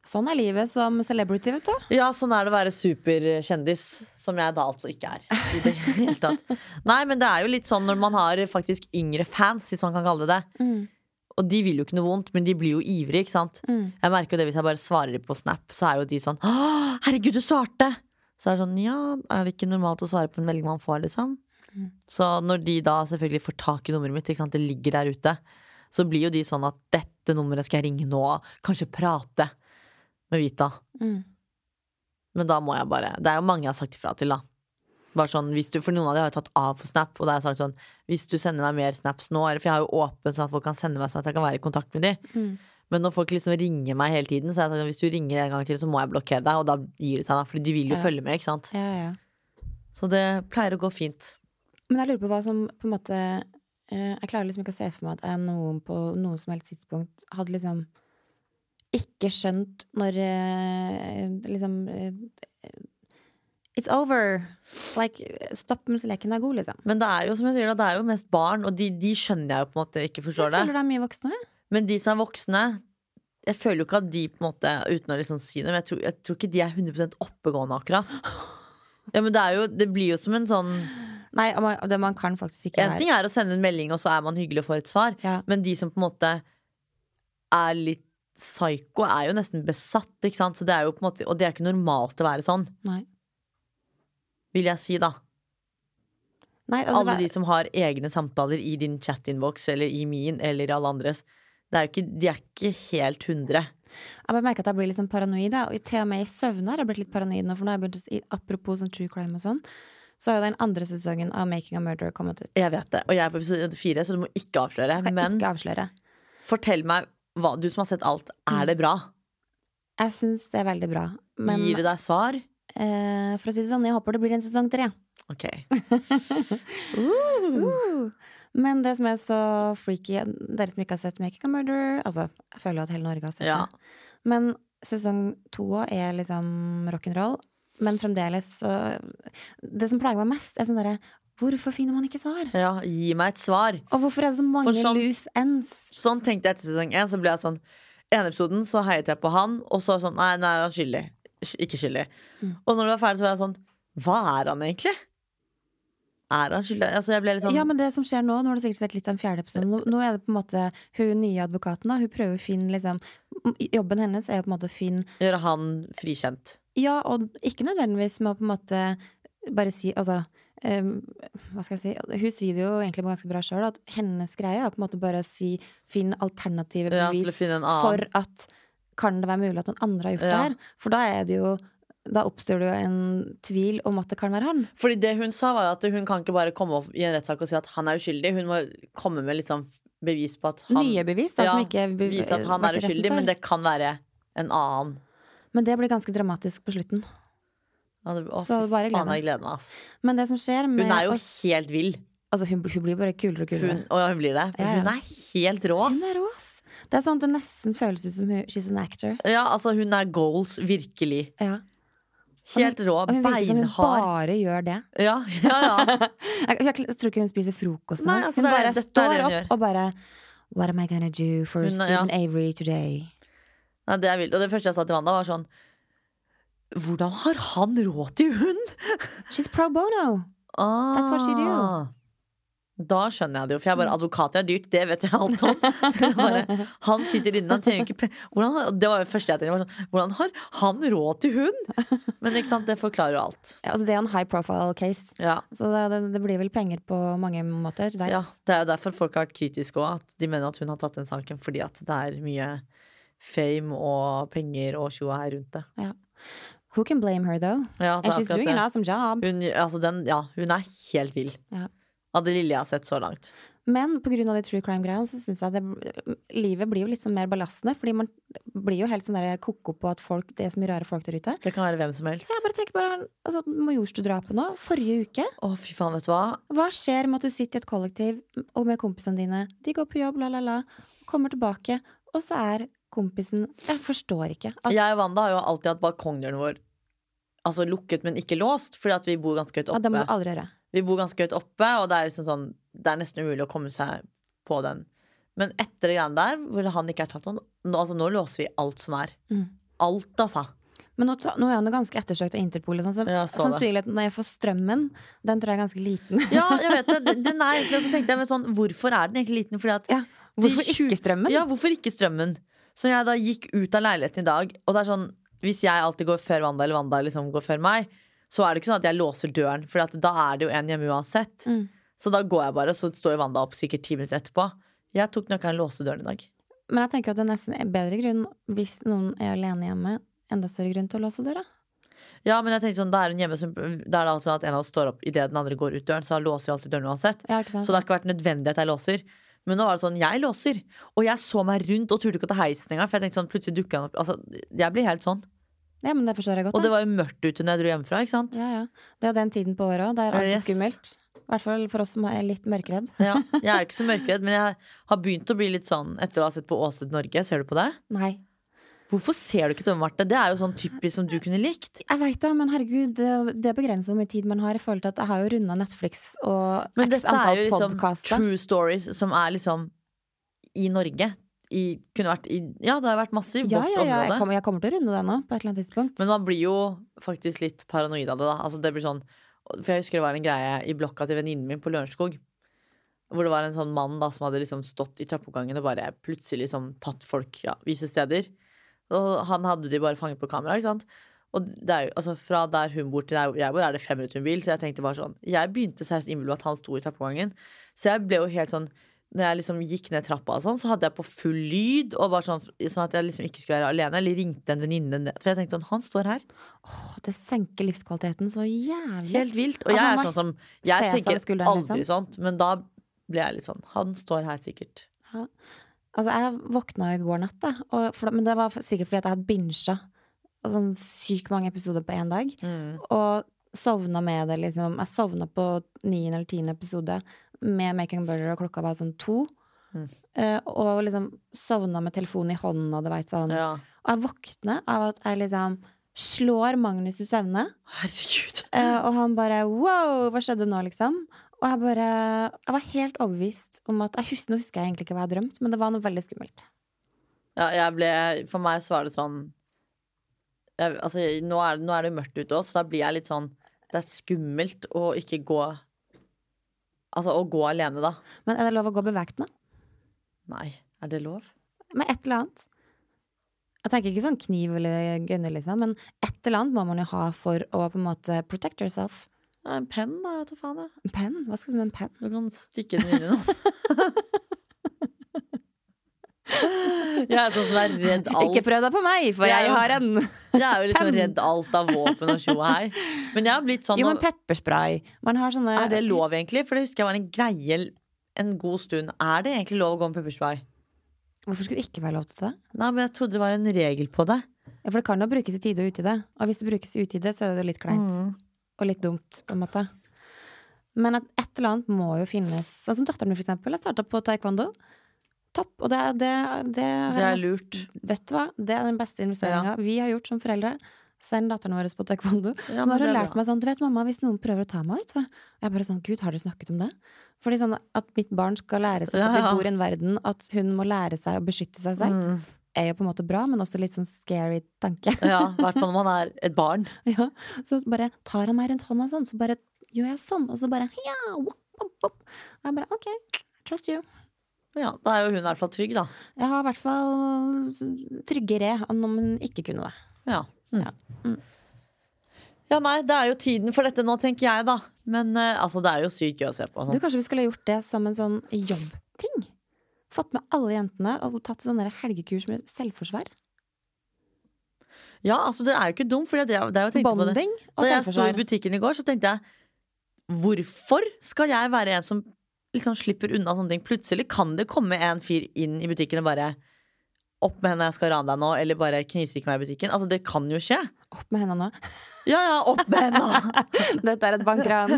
Speaker 2: Sånn er livet som celebrity, vet du.
Speaker 1: Ja, sånn er det å være superkjendis, som jeg da altså ikke er. I det [LAUGHS] hele tatt. Nei, men det er jo litt sånn når man har faktisk yngre fans, hvis man kan kalle det det. Og de vil jo ikke noe vondt, men de blir jo ivrige, ikke sant. Jeg merker jo det hvis jeg bare svarer på Snap, så er jo de sånn Å, herregud, du svarte! Så er det sånn, ja, er det ikke normalt å svare på en melding man får, liksom? Så når de da selvfølgelig får tak i nummeret mitt, ikke sant, det ligger der ute, så blir jo de sånn at mm, dette nummeret skal jeg ringe nå, kanskje prate med Vita. Men da må jeg bare Det er jo mange jeg har sagt ifra til, da. Bare sånn, hvis du, For noen av de har jeg tatt av på Snap, og da har jeg sagt sånn Hvis du sender meg mer snaps nå, eller for jeg har jo åpen sånn at folk kan sende meg sånn at jeg kan være i kontakt med de.
Speaker 2: Mm.
Speaker 1: Men når folk liksom ringer meg hele tiden, så har jeg sagt at hvis du ringer en gang til, så må jeg blokkere deg, og da gir det seg, da. Fordi du vil jo
Speaker 2: Ja.
Speaker 1: følge med, ikke sant.
Speaker 2: Ja, ja.
Speaker 1: Så det pleier å gå fint.
Speaker 2: Men jeg lurer på hva som på en måte eh, Jeg klarer liksom ikke å se for meg at jeg noen på noe som helst tidspunkt hadde liksom ikke skjønt når eh, liksom eh, It's over! Like, stopp mens leken er god, liksom.
Speaker 1: Men det er jo som jeg sier da, det er jo mest barn, og de, de skjønner jeg jo på en måte ikke
Speaker 2: Jeg
Speaker 1: forstår det.
Speaker 2: føler det er mye voksne. jeg.
Speaker 1: Men de som er voksne Jeg føler jo ikke at de på en måte Uten å liksom si det, men jeg tror, jeg tror ikke de er 100 oppegående akkurat Ja, men det er jo Det blir jo som en sånn
Speaker 2: Nei, og man, det man kan faktisk ikke
Speaker 1: En
Speaker 2: være.
Speaker 1: ting er å sende en melding Og så er man hyggelig og får et svar
Speaker 2: Ja.
Speaker 1: Men de som på en måte Er litt psyko Er jo nesten besatt, ikke sant? Så det er jo på en måte Og det er ikke normalt å være sånn
Speaker 2: Nei.
Speaker 1: Vil jeg si da
Speaker 2: Nei, altså,
Speaker 1: Alle
Speaker 2: hva-
Speaker 1: de som har egne samtaler I din chat-inbox Eller i min Eller i alle andres Det er jo ikke De er ikke helt 100
Speaker 2: Jeg bare merker at jeg blir litt sånn paranoid. jeg. Og til og med i søvne har jeg blitt litt paranoid nå. For nå har jeg begynt å, si- apropos sånn true crime og sånn, så har jo den andre sesongen av Making a Murderer kommet ut.
Speaker 1: Jeg vet det, og jeg er på episode fire, så du må ikke avsløre.
Speaker 2: Jeg skal
Speaker 1: Men
Speaker 2: ikke avsløre.
Speaker 1: fortell meg, hva, du som har sett alt, er det bra?
Speaker 2: Jeg syns det er veldig bra. Men
Speaker 1: Gir det deg svar?
Speaker 2: eh, for å si det sånn, jeg håper det blir en sesong tre.
Speaker 1: Ok. Uh.
Speaker 2: Men det som er så freaky Dere som ikke har sett Making a Murderer Altså, jeg føler jo at hele Norge har sett
Speaker 1: Ja.
Speaker 2: det. Men sesong to er liksom rock'n'roll. Men fremdeles så Det som plager meg mest, er sånn derre Hvorfor finner man ikke svar?
Speaker 1: Ja, gi meg et svar.
Speaker 2: Og hvorfor er det så mange
Speaker 1: For sånn-
Speaker 2: loose ends?
Speaker 1: Sånn tenkte jeg etter sesong én, så ble jeg sånn ene episoden så heiet jeg på han, og så sånn Nei, nei, han er skyldig. Sk- Ikke skyldig.
Speaker 2: Mm.
Speaker 1: Og når det var ferdig, så var jeg sånn Hva er han egentlig? Er han skyldig? Altså, jeg ble litt sånn
Speaker 2: Ja, men det som skjer nå, nå har du sikkert sett litt av den fjerde episoden, nå, nå er det på en måte hun nye advokaten, da, hun prøver å finne liksom Jobben hennes er jo på en måte å finne
Speaker 1: Gjøre han frikjent.
Speaker 2: Ja, og ikke nødvendigvis med å på en måte bare si Altså, em, hva skal jeg si Hun sier det jo egentlig ganske bra sjøl, at hennes greie er på en måte bare å si finn alternative
Speaker 1: Ja, til å
Speaker 2: bevis
Speaker 1: finne en annen.
Speaker 2: for at kan det være mulig at noen andre har gjort det
Speaker 1: Ja.
Speaker 2: her? For da er det jo da oppstår det jo en tvil om at det kan være han.
Speaker 1: Fordi det hun sa var jo at hun kan ikke bare komme opp i en rettssak og si at han er uskyldig. Hun må komme med liksom bevis på at han
Speaker 2: Nye bevis da,
Speaker 1: Ja,
Speaker 2: som ikke be-
Speaker 1: vise at han
Speaker 2: vært i
Speaker 1: er
Speaker 2: retten
Speaker 1: uskyldig,
Speaker 2: før.
Speaker 1: men det kan være en annen.
Speaker 2: men det blir ganske dramatisk på slutten.
Speaker 1: Ja, det, å,
Speaker 2: Så
Speaker 1: fy
Speaker 2: bare gled
Speaker 1: faen,
Speaker 2: deg.
Speaker 1: jeg gleder meg. ass.
Speaker 2: Men det som skjer med
Speaker 1: Hun er jo
Speaker 2: oss
Speaker 1: helt vill.
Speaker 2: Altså, hun, hun blir bare kulere og kulere.
Speaker 1: Hun, og hun blir det. Men
Speaker 2: Ja, ja.
Speaker 1: Hun er helt rå.
Speaker 2: Hun
Speaker 1: ass.
Speaker 2: er rå, ass. Det er sånn at det nesten føles ut som hun, she's an actor.
Speaker 1: Ja, altså, hun er goals, virkelig.
Speaker 2: Ja.
Speaker 1: Helt rå,
Speaker 2: Og hun virker som hun
Speaker 1: beinhard.
Speaker 2: bare gjør det.
Speaker 1: Ja, [LAUGHS] ja, ja.
Speaker 2: Jeg, jeg, jeg tror ikke hun spiser frokost.
Speaker 1: Nei,
Speaker 2: nå.
Speaker 1: altså,
Speaker 2: hun
Speaker 1: det er-
Speaker 2: bare
Speaker 1: dette er
Speaker 2: står
Speaker 1: det hun
Speaker 2: opp
Speaker 1: gjør.
Speaker 2: og bare What am I gonna do for
Speaker 1: Hun er-
Speaker 2: Stephen
Speaker 1: ja.
Speaker 2: Avery today?
Speaker 1: Nei, det er vilt. Og det første jeg sa til Wanda, var sånn Hvordan har han råd til hund?
Speaker 2: She's pro bono!
Speaker 1: Ah.
Speaker 2: That's what she do. Mm.
Speaker 1: Da skjønner jeg det jo, for jeg bare advokater er dyrt, det vet jeg alt
Speaker 2: [LAUGHS]
Speaker 1: om. Det er bare, han sitter inne, han tjener ikke pe- Hvordan har- Det var jo det første jeg tenkte. var Sånn, hvordan har han råd til hund? Men ikke sant, det forklarer jo alt.
Speaker 2: Ja, Altså, det er en high profile case.
Speaker 1: Ja.
Speaker 2: Så det, det, det blir vel penger på mange måter. Der.
Speaker 1: ja, Det er jo derfor folk har vært kritiske òg. At de mener at hun har tatt den saken fordi at det er mye fame og penger og tjoa her rundt det.
Speaker 2: Ja. Who can blame her, though?
Speaker 1: Ja, det
Speaker 2: And
Speaker 1: er
Speaker 2: she's
Speaker 1: akkurat
Speaker 2: doing an
Speaker 1: det.
Speaker 2: awesome job.
Speaker 1: Hun, altså den, ja, hun er helt vill.
Speaker 2: Ja.
Speaker 1: Av det lille jeg har sett så langt.
Speaker 2: Men pga. de true crime-greiene så syns jeg det, livet blir jo litt sånn mer belastende. Fordi man blir jo helt sånn der ko-ko på at folk, det er så mye rare folk der ute.
Speaker 1: Det kan være hvem som helst.
Speaker 2: Så jeg bare tenker bare, altså, Majorstuen-drapet nå, forrige uke.
Speaker 1: Å, fy faen, vet du hva?
Speaker 2: Hva skjer med at du sitter i et kollektiv og med kompisene dine? De går på jobb, la, la, la. Kommer tilbake, og så er kompisen Jeg forstår ikke. At,
Speaker 1: Jeg og Wanda har jo alltid hatt balkongdøren vår Altså lukket, men ikke låst, fordi at vi bor ganske høyt
Speaker 2: ja, det må
Speaker 1: oppe.
Speaker 2: du aldri gjøre.
Speaker 1: Vi bor ganske høyt oppe, og det er liksom sånn Det er nesten umulig å komme seg på den. Men etter det greiene der, hvor han ikke er tatt sånn nå, altså, nå låser vi alt som er.
Speaker 2: Mm.
Speaker 1: Alt, altså.
Speaker 2: Men nå, ta- nå er han jo ganske ettersøkt av Interpol. og Sånn, så
Speaker 1: Ja, jeg så det.
Speaker 2: sannsynligheten for strømmen, den tror jeg er ganske liten. [LAUGHS]
Speaker 1: Ja, jeg vet det. Den- Den er egentlig, og så tenkte jeg, men sånn, hvorfor er den egentlig liten? Fordi at
Speaker 2: Ja,
Speaker 1: de
Speaker 2: Hvorfor
Speaker 1: tjue-
Speaker 2: ikke strømmen?
Speaker 1: Ja, hvorfor ikke strømmen? Så jeg da gikk ut av leiligheten i dag, og det er sånn Hvis jeg alltid går før Wanda, eller Wanda liksom går før meg, så er det ikke sånn at jeg låser døren, for at da er det jo en hjemme uansett.
Speaker 2: Mm.
Speaker 1: Så da går jeg bare, og så står Wanda opp sikkert ti minutter etterpå. Jeg tok nøkkelen og låste døren i dag.
Speaker 2: Men jeg tenker at det er nesten en bedre grunn hvis noen er alene hjemme. Enda større grunn til å låse døra.
Speaker 1: Ja, men jeg tenkte sånn, Da er hun hjemme, så hun- da er det altså at en av oss står opp idet den andre går ut døren. Så da låser vi alltid døren uansett.
Speaker 2: Ja, ikke sant?
Speaker 1: Så det har ikke vært nødvendig at jeg låser. Men nå var det sånn, jeg låser. Og jeg så meg rundt og turte ikke å ta heisen engang. For jeg tenkte sånn, plutselig dukker han opp. Altså, jeg blir helt sånn.
Speaker 2: ja, men det forstår jeg godt.
Speaker 1: Og det var jo mørkt ute når jeg dro hjemmefra, ikke sant.
Speaker 2: Ja, ja. Det er jo den tiden på året òg. Da er
Speaker 1: Ja,
Speaker 2: alt
Speaker 1: yes.
Speaker 2: skummelt. I hvert fall for oss som er litt mørkredd.
Speaker 1: Ja, jeg er ikke så mørkredd, men jeg har begynt å bli litt sånn etter å ha sett på Åsted Norge. Ser du på det?
Speaker 2: Nei.
Speaker 1: Hvorfor ser du ikke denne, Marte? Det er jo sånn typisk som du kunne likt.
Speaker 2: Jeg veit det, men herregud, det, det begrenser hvor mye tid man har. I forhold til at jeg har jo runda Netflix og
Speaker 1: Men
Speaker 2: x
Speaker 1: dette er
Speaker 2: antall
Speaker 1: jo liksom
Speaker 2: podkaster.
Speaker 1: true stories som er liksom i Norge. I, kunne vært i Ja, det har vært masse i
Speaker 2: Ja,
Speaker 1: vårt
Speaker 2: ja, ja. Jeg
Speaker 1: område.
Speaker 2: kommer, jeg kommer til å runde det nå, på et eller annet tidspunkt.
Speaker 1: Men man blir jo faktisk litt paranoid av det, da. Altså, det blir sånn, for jeg husker det var en greie i blokka til venninnen min på Lørenskog. Hvor det var en sånn mann da som hadde liksom stått i trappeoppgangen og bare plutselig liksom tatt folk ja, visse steder. Og han hadde de bare fanget på kamera, ikke sant. Og det er jo, altså Fra der hun bor til der jeg bor, er det fem minutter med bil. Så jeg tenkte bare sånn Jeg begynte seriøst å innbille meg at han sto i trappeoppgangen. Så jeg ble jo helt sånn Når jeg liksom gikk ned trappa, og sånn, så hadde jeg på full lyd. Og bare sånn, sånn at jeg liksom ikke skulle være alene. Eller ringte en venninne ned. For jeg tenkte sånn Han står her.
Speaker 2: Åh, det senker livskvaliteten så jævlig.
Speaker 1: Helt vilt. Og
Speaker 2: Ja,
Speaker 1: jeg
Speaker 2: han
Speaker 1: er
Speaker 2: var
Speaker 1: sånn som
Speaker 2: ses
Speaker 1: Jeg
Speaker 2: over
Speaker 1: tenker
Speaker 2: skulderen,
Speaker 1: aldri sånt, men da ble jeg litt sånn Han står her sikkert.
Speaker 2: Altså, jeg våkna i går natt, da, og for, men det var sikkert fordi at jeg hadde bincha sånn sykt mange episoder på én dag.
Speaker 1: Mm.
Speaker 2: Og sovna med det, liksom. Jeg sovna på niende eller tiende episode med Making a Burger, og klokka var sånn to. Eh, og liksom sovna med telefonen i hånda, du veit sånn.
Speaker 1: Ja.
Speaker 2: Og jeg våkner av at jeg liksom slår Magnus i søvne.
Speaker 1: Herregud.
Speaker 2: Eh, og han bare wow, hva skjedde nå, liksom? Og jeg bare Jeg var helt overbevist om at jeg husker, Nå husker jeg egentlig ikke hva jeg drømte, men det var noe veldig skummelt.
Speaker 1: Ja, jeg ble For meg så var det sånn jeg, Altså, nå er, nå er det mørkt ute òg, så da blir jeg litt sånn Det er skummelt å ikke gå Altså, å gå alene, da.
Speaker 2: Men er det lov å gå bevæpna?
Speaker 1: Nei, er det lov?
Speaker 2: Med et eller annet? Jeg tenker ikke sånn kniv eller gønner, liksom, men et eller annet må man jo ha for å på en måte protect yourself.
Speaker 1: Ja, en penn, da. Jeg vet da faen, jeg.
Speaker 2: En penn? Hva skal du med en penn?
Speaker 1: Du kan stikke den inn i noe. Jeg er sånn som er
Speaker 2: [LAUGHS]
Speaker 1: redd alt.
Speaker 2: Ikke prøv deg på meg, for
Speaker 1: Det er
Speaker 2: jeg
Speaker 1: jo-
Speaker 2: har en!
Speaker 1: Jeg er jo liksom
Speaker 2: Penn.
Speaker 1: redd alt av våpen og tjo og hei. Men jeg har blitt sånn
Speaker 2: Jo, men
Speaker 1: nå-
Speaker 2: pepperspray. Man har sånne
Speaker 1: Er det lov, egentlig? For det husker jeg var en greie l- en god stund. Er det egentlig lov å gå med pepperspray?
Speaker 2: Hvorfor skulle det ikke være lov til det?
Speaker 1: Nei, men jeg trodde det var en regel på det.
Speaker 2: Ja, For det kan jo brukes i tide og utide. Og hvis det brukes i utide, så er det jo litt kleint.
Speaker 1: Mm.
Speaker 2: Og litt dumt, på en måte. Men at et eller annet må jo finnes. Sånn som datteren min, for eksempel. Jeg starta på taekwondo. Topp. Og det, er- det, det,
Speaker 1: Det er
Speaker 2: nest-
Speaker 1: lurt.
Speaker 2: Vet du hva? Det er den beste investeringa vi har gjort som foreldre. Send datteren vår på taekwondo.
Speaker 1: Ja,
Speaker 2: så nå
Speaker 1: men
Speaker 2: har hun
Speaker 1: det er
Speaker 2: lært
Speaker 1: bra.
Speaker 2: meg sånn, du vet mamma, hvis noen prøver å ta meg ut, så Og Jeg bare sånn, gud, har dere snakket om det? Fordi sånn at mitt barn skal lære seg
Speaker 1: Ja,
Speaker 2: at vi
Speaker 1: ja.
Speaker 2: bor i en verden, at hun må lære seg å beskytte seg selv,
Speaker 1: Mm.
Speaker 2: er jo på en måte bra, men også litt sånn scary
Speaker 1: [LAUGHS]
Speaker 2: tanke.
Speaker 1: Ja, i hvert fall når man er et barn.
Speaker 2: [LAUGHS] Ja, så bare tar han meg rundt hånda sånn, så bare gjør jeg sånn, og så bare ja, wop, wop, wop. Og jeg bare ok, trust you.
Speaker 1: Ja, Da er jo hun i hvert fall trygg, da.
Speaker 2: Jeg har i hvert fall tryggere enn om hun ikke kunne det.
Speaker 1: Ja. Mm.
Speaker 2: Ja.
Speaker 1: ja, nei, det er jo tiden for dette nå, tenker jeg, da. Men eh, altså, det er jo sykt gøy å se på.
Speaker 2: Du,
Speaker 1: Sånt.
Speaker 2: kanskje vi skulle gjort det som en sånn jobbting? Fått med alle jentene og tatt sånne der helgekurs med selvforsvar?
Speaker 1: Ja, altså, det er jo ikke dumt, for jeg drev, det er jo tenkte på det.
Speaker 2: Bonding
Speaker 1: Da
Speaker 2: og
Speaker 1: altså, jeg sto i
Speaker 2: selvforsvar.
Speaker 1: butikken i går, så tenkte jeg Hvorfor skal jeg være en som liksom slipper unna sånne ting? Plutselig kan det komme en fyr inn i butikken og bare opp med henne, jeg skal rane deg nå, eller bare knivstikke meg i butikken. Altså, det kan jo skje.
Speaker 2: Opp med henda nå. [LAUGHS]
Speaker 1: Ja, ja, opp med henne!
Speaker 2: Dette er et bankran.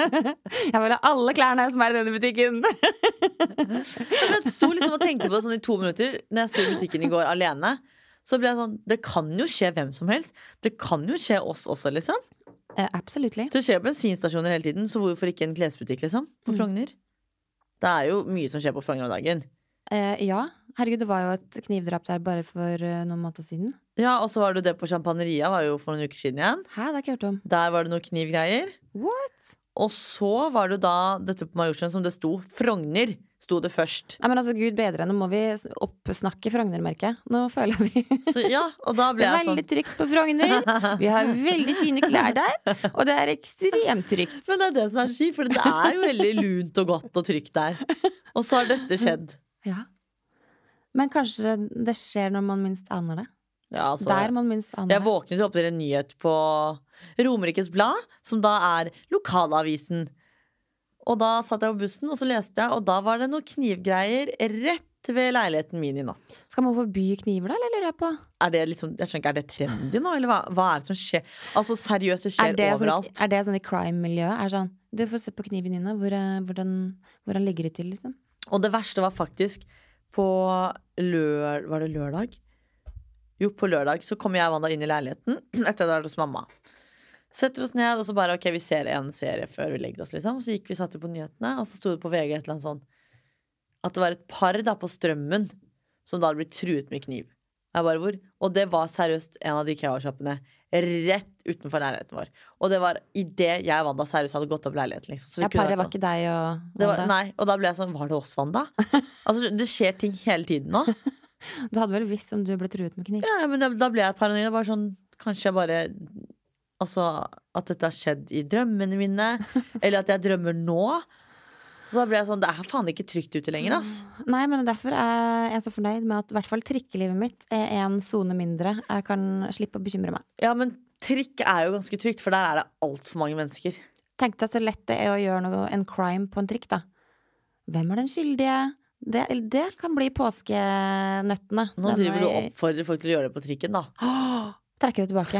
Speaker 2: [LAUGHS] Jeg vil ha alle klærne som er i denne butikken. [LAUGHS]
Speaker 1: Jeg sto liksom og tenkte på det sånn i to minutter Når jeg sto i butikken i går alene. Så ble jeg sånn Det kan jo skje hvem som helst. Det kan jo skje oss også, liksom.
Speaker 2: Eh, absolutely.
Speaker 1: Det skjer bensinstasjoner hele tiden, så hvorfor ikke en klesbutikk, liksom?
Speaker 2: Mm.
Speaker 1: På Frogner. Det er jo mye som skjer på Frogner om dagen.
Speaker 2: Eh, ja. Herregud, det var jo et knivdrap der bare for eh, noen måneder siden.
Speaker 1: Ja, og så var det det på Champagneria var jo for noen uker siden igjen.
Speaker 2: Hæ, det har jeg ikke hørt om.
Speaker 1: Der var det noen knivgreier.
Speaker 2: What?
Speaker 1: Og så var det jo da dette på Majorstuen som det sto Frogner. Sto det først.
Speaker 2: Nei, men altså, Gud bedre, nå må vi s- oppsnakke Frogner-merket. Nå føler vi
Speaker 1: Så ja, og da
Speaker 2: [LAUGHS] det
Speaker 1: ble
Speaker 2: er
Speaker 1: jeg sånn
Speaker 2: veldig trygt på Frogner.
Speaker 1: [LAUGHS]
Speaker 2: Vi har veldig fine klær der, og det er ekstremt trygt.
Speaker 1: Men det er det som er så kjipt, for det er jo veldig lunt og godt og trygt der. Og så har dette skjedd.
Speaker 2: Ja. Men kanskje det skjer når man minst aner det.
Speaker 1: Ja, altså,
Speaker 2: Der man minst aner.
Speaker 1: Jeg våknet jo opp til en nyhet på Romerikes Blad, som da er lokalavisen. Og da satt jeg på bussen, og så leste jeg, og da var det noen knivgreier rett ved leiligheten min i natt.
Speaker 2: Skal man forby kniver, da, eller lurer jeg på?
Speaker 1: Er det liksom, jeg skjønner ikke, er det trendy nå, eller hva, hva er det som skjer? Altså seriøst, det skjer
Speaker 2: er det
Speaker 1: overalt.
Speaker 2: Sånn, er det sånn i crime-miljøet? Er det sånn Du får se på kniven din, da. Hvor, eh, hvordan, hvordan ligger det til, liksom?
Speaker 1: Og det verste var faktisk på lør... Var det lørdag? Jo, på lørdag så kommer jeg og Wanda inn i leiligheten [CLEARS THROAT] etter at jeg hadde vært hos mamma. Setter oss ned, og så bare OK, vi ser en serie før vi legger oss, liksom. Så gikk vi satte på nyhetene, og så sto det på VG et eller annet sånn at det var et par da på Strømmen som da hadde blitt truet med kniv. Jeg bare hvor? Og det var seriøst en av de Ikea-sjappene rett utenfor leiligheten vår. Og det var idet jeg og Wanda seriøst hadde gått opp leiligheten, liksom. Så det
Speaker 2: Ja,
Speaker 1: kunne vært
Speaker 2: Paret
Speaker 1: noe.
Speaker 2: var ikke deg og
Speaker 1: Det var,
Speaker 2: Wanda.
Speaker 1: nei, og da ble jeg sånn, var det oss, [LAUGHS] Wanda? Altså, det skjer ting hele tiden nå.
Speaker 2: Du hadde vel visst om du ble truet med kniv?
Speaker 1: Ja, ja, men da, da ble jeg paranoid. Bare sånn, kanskje jeg bare Altså, at dette har skjedd i drømmene mine. [LAUGHS] Eller at jeg drømmer nå. Så da ble jeg sånn, det er faen ikke trygt ute lenger, ass.
Speaker 2: Nei, men derfor er jeg så fornøyd med at i hvert fall trikkelivet mitt er en sone mindre. Jeg kan slippe å bekymre meg.
Speaker 1: Ja, men trikk er jo ganske trygt, for der er det altfor mange mennesker.
Speaker 2: Tenk deg så lett det er å gjøre noe, en crime på en trikk, da. Hvem er den skyldige? Det, det kan bli påskenøttene.
Speaker 1: Nå driver du og oppfordrer folk til å gjøre det på trikken, da.
Speaker 2: opp Trekke det tilbake.